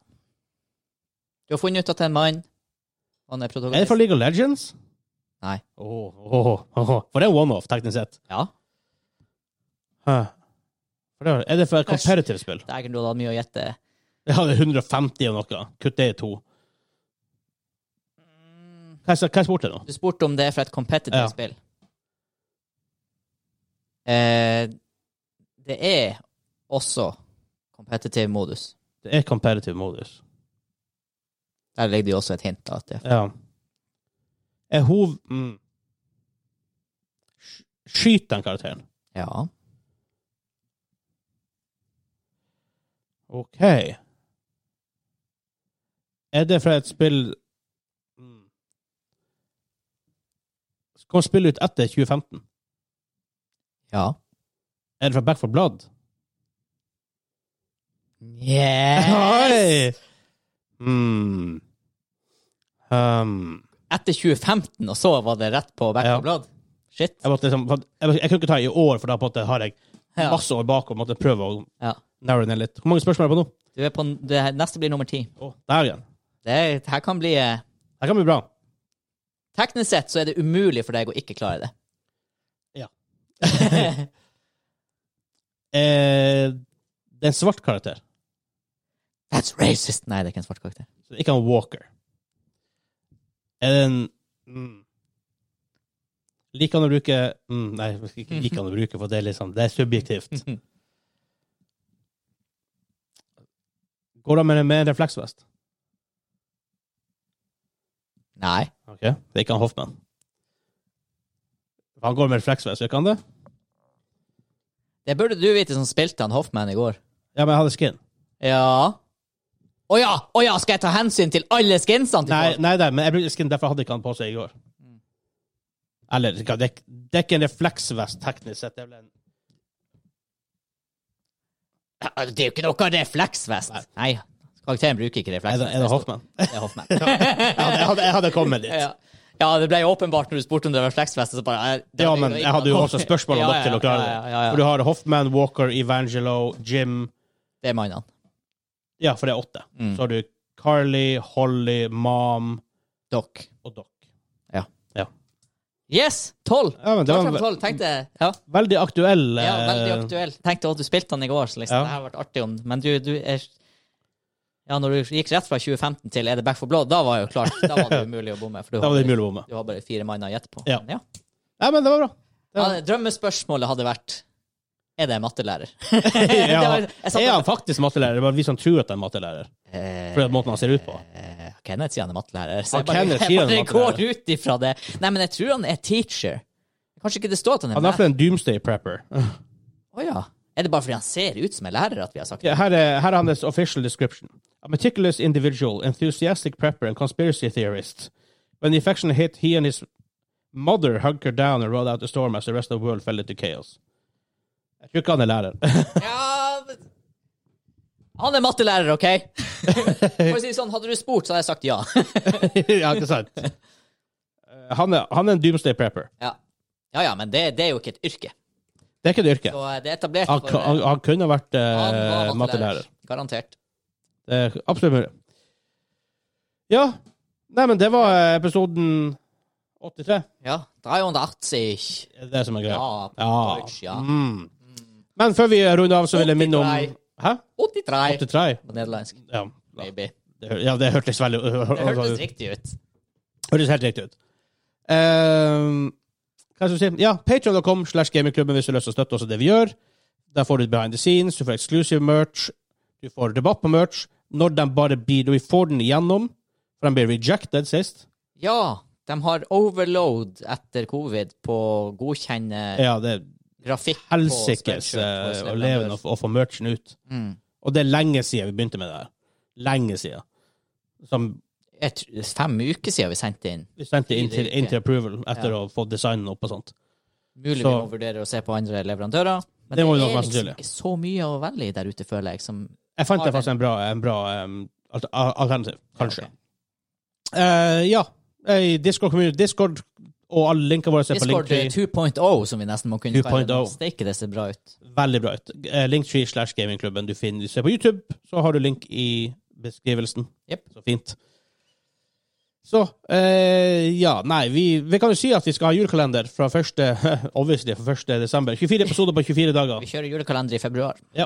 S1: Du har funnet ut at det er en mann. Han er
S2: Er det
S1: protagonist.
S2: for League of Legends?
S1: Nei.
S2: Åh, åh, åh. For det er one-off, teknisk sett.
S1: Ja.
S2: Hæ. For det er- Er det for et competitive spill?
S1: Dægen, du hadde hatt mye å gjette.
S2: Ja, det er 150 og noe. Kutt det i to. Hva er hva er sport det nå?
S1: Du spurte om det er fra et competitive
S2: Ja.
S1: spill. Eh, det er også competitive modus.
S2: Det er competitive modus.
S1: Der ligger det jo også et hint. da, At det,
S2: Ja. Er hov... Mm. Sk- Skyt den karakteren.
S1: ja.
S2: OK. Er det fra et spill Mm. Kom spillet ut etter 2015?
S1: Ja.
S2: Er det fra Back for Blood?
S1: Yes! Hmm.
S2: Mm. Um,
S1: Etter 2015, og så var det rett på Back
S2: Ja.
S1: ja. Blad? Shit.
S2: jeg, måtte liksom, jeg, jeg kunne ikke ta i år, for da på en måte har jeg
S1: Ja.
S2: masse år bak og måtte prøve å
S1: Ja.
S2: narrow ned litt. Hvor mange spørsmål er det på nå?
S1: Du er på, n- det her, neste blir nummer ti.
S2: Å, der igjen.
S1: Det er- her kan bli eh,
S2: Det kan bli bra.
S1: Teknisk sett så er det umulig for deg å ikke klare det.
S2: Ja. Eh, det er en svart karakter.
S1: That's racist! Nei, det er ikke en svart karakter.
S2: Så det er ikke han Walker. Er det en mm, Liker han å bruke mm, Nei, ikke liker han å bruke, for det er, liksom, det er subjektivt. Går han med, med en refleksvest?
S1: Nei.
S2: Ok, Det er ikke han Hoffmann. Han går med refleksvest, gjør ikke han det?
S1: Det burde du vite som spilte han Hoffman i går.
S2: Ja, men jeg hadde skin.
S1: Ja. Å ja! Å ja! Skal jeg ta hensyn til alle skinsene? til
S2: Nei,
S1: folk?
S2: nei, nei, men jeg brukte skin, derfor hadde ikke han på seg i går. Eller, det er ikke- det er ikke en refleksvest teknisk sett. Det er vel en
S1: Ja, Det er jo ikke noe refleksvest. Nei. Karakteren bruker ikke
S2: Er
S1: refleksvest.
S2: det, er det Hoffmann?
S1: Det er Hoffman.
S2: Jeg hadde, jeg hadde, jeg hadde kommet dit.
S1: ja. ja, det ble åpenbart når du spurte om det var refleksvest. Så bare, eh, det
S2: Ja,
S1: var-
S2: men jeg hadde jo også spørsmål om
S1: Ja,
S2: dere til å klare
S1: ja, ja,
S2: det.
S1: ja, ja.
S2: For du har Hoffman, Walker, Evangelo, Jim
S1: Det er mannene.
S2: Ja, for det er åtte.
S1: Mm.
S2: Så har du Carly, Holly, Mom
S1: Dere.
S2: og Doc.
S1: Yes! Tolv!
S2: Ja, men det
S1: Klart
S2: var en
S1: frem
S2: ve-
S1: tolv. Tenkte Ja.
S2: veldig aktuell eh,
S1: Ja, veldig aktuell. Tenkte at du spilte den i går, så liksom,
S2: Ja.
S1: det her ble artig om Men du, du er Ja, når du gikk rett fra 2015 til Er det Back for Blood, da var jo klart Da var det umulig å bomme. For du
S2: Da var det
S1: har,
S2: mulig å bomme.
S1: du har bare fire manner å gjette på.
S2: Ja.
S1: Men Ja.
S2: Nei, men det var bra.
S1: Ja, det- drømmespørsmålet hadde vært Er det en mattelærer?
S2: Ja.
S1: Det var- jeg satt-
S2: Er han faktisk mattelærer? Det er Bare vi som tror at han er mattelærer. Fordi at måten han ser ut på.
S1: Eh, Kenneth sier han er mattelærer. Så
S2: Ja,
S1: jeg bare,
S2: Kenneth
S1: jeg
S2: sier han er
S1: bare går ut ifra det. Nei, men jeg tror han er teacher. Kanskje ikke det står at han er
S2: Han er i hvert
S1: lærer.
S2: fall en doomsday prepper.
S1: Å ja. Er det bare fordi han ser ut som en lærer at vi har sagt det?
S2: Ja, her, er, her er hans official description. A meticulous individual, enthusiastic prepper and conspiracy theorist. When the infection hit, he and his mother hunkered down and rode out the storm as the rest of the world fell into chaos. Jeg tror ikke han er lærer.
S1: Ja, men- han er mattelærer, OK? For å si det sånn, hadde du spurt, så hadde jeg sagt ja.
S2: ja, ikke sant? Eh, Han er, han er en doomsday prepper.
S1: Ja, ja, ja men det, det er jo ikke et yrke.
S2: Det er ikke et yrke.
S1: Så eh, det er etablert
S2: Han,
S1: for
S2: han, han kunne vært eh,
S1: Han var
S2: mattelærer.
S1: Garantert.
S2: Det er absolutt mulig. Ja. Nei, men det var eh, episoden 83.
S1: Ja. 380.
S2: Det er det som er greia.
S1: Ja. på
S2: Ja.
S1: Deutsch, ja.
S2: Mm. Men før vi runder av, så vil jeg minne om
S1: 83.
S2: Hæ?
S1: 83
S2: 83?
S1: på nederlandsk.
S2: Ja.
S1: Maybe.
S2: Det, hø- ja, det hørtes veldig
S1: Det hørtes riktig ut.
S2: hørtes helt riktig ut. Ehm, hva skal jeg si? Ja, patreon.com slash gamingklubben hvis du har lyst til å støtte oss i det vi gjør. Der får du behind the scenes, du får exclusive merch, du får debatt på merch. Når de bare blir Vi får den igjennom, for de ble rejected sist.
S1: Ja, de har overload etter covid på å godkjenne
S2: Ja, det er
S1: grafikk. på
S2: helsikes
S1: spreadshirt på
S2: eh, å
S1: Slender.
S2: leve av å få merchen ut.
S1: Mm.
S2: Og det er lenge siden vi begynte med det her. Lenge siden. Som
S1: Jeg tr- Fem uker siden vi sendte inn.
S2: vi sendte inn til,
S1: Fire uker.
S2: inn til approval etter å få designen opp og sånt.
S1: Mulig vi
S2: Så-
S1: må vurdere å se på andre leverandører. Men
S2: Det
S1: det,
S2: må vi nok
S1: er liksom
S2: mest sannsynlig.
S1: ikke så mye å velge i der ute, føler jeg. Som,
S2: Jeg fant
S1: Har
S2: det
S1: den.
S2: faktisk en bra, en bra em, alt- al- alternativ, kanskje.
S1: Ok.
S2: Eh, ja. Eh, Discord, community, Discord og alle linkene våre er på
S1: Discord eh,
S2: Linktree.
S1: 2.0 som vi nesten må kunne kalle
S2: 2.0.
S1: det. Steike, det ser bra ut.
S2: Veldig bra. ut. Eh, Linktree slash gamingklubben. Du finner, du ser på YouTube, så har du link i beskrivelsen.
S1: Jepp.
S2: Så fint. Så eh, Ja, nei, vi, vi kan jo si at vi skal ha julekalender fra første, obviously fra 1. desember. 24 episoder på 24 dager.
S1: Vi kjører julekalender i februar.
S2: Ja.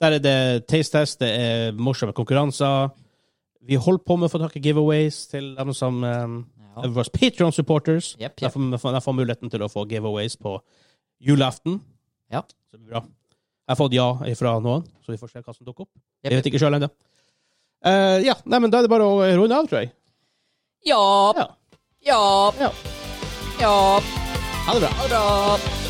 S2: Der er det taste test, det er morsomme konkurranser. Vi holder på med å få tak i giveaways til dem som um,
S1: Ja.
S2: våre Patron-supporters.
S1: Jepp,
S2: Der,
S1: jepp.
S2: får- får- der får muligheten til å få giveaways på julaften.
S1: Ja.
S2: Så det blir bra. Jeg har fått ja fra noen, så vi får se hva som dukker opp.
S1: Jepp,
S2: Jeg vet ikke sjøl ennå. Eh, ja, nei, men da er det bare å runde av, tror jeg.
S1: Ja,
S2: Ja.
S1: ja,
S2: ja.
S1: ja.
S2: Ha det bra.
S1: Ha det bra.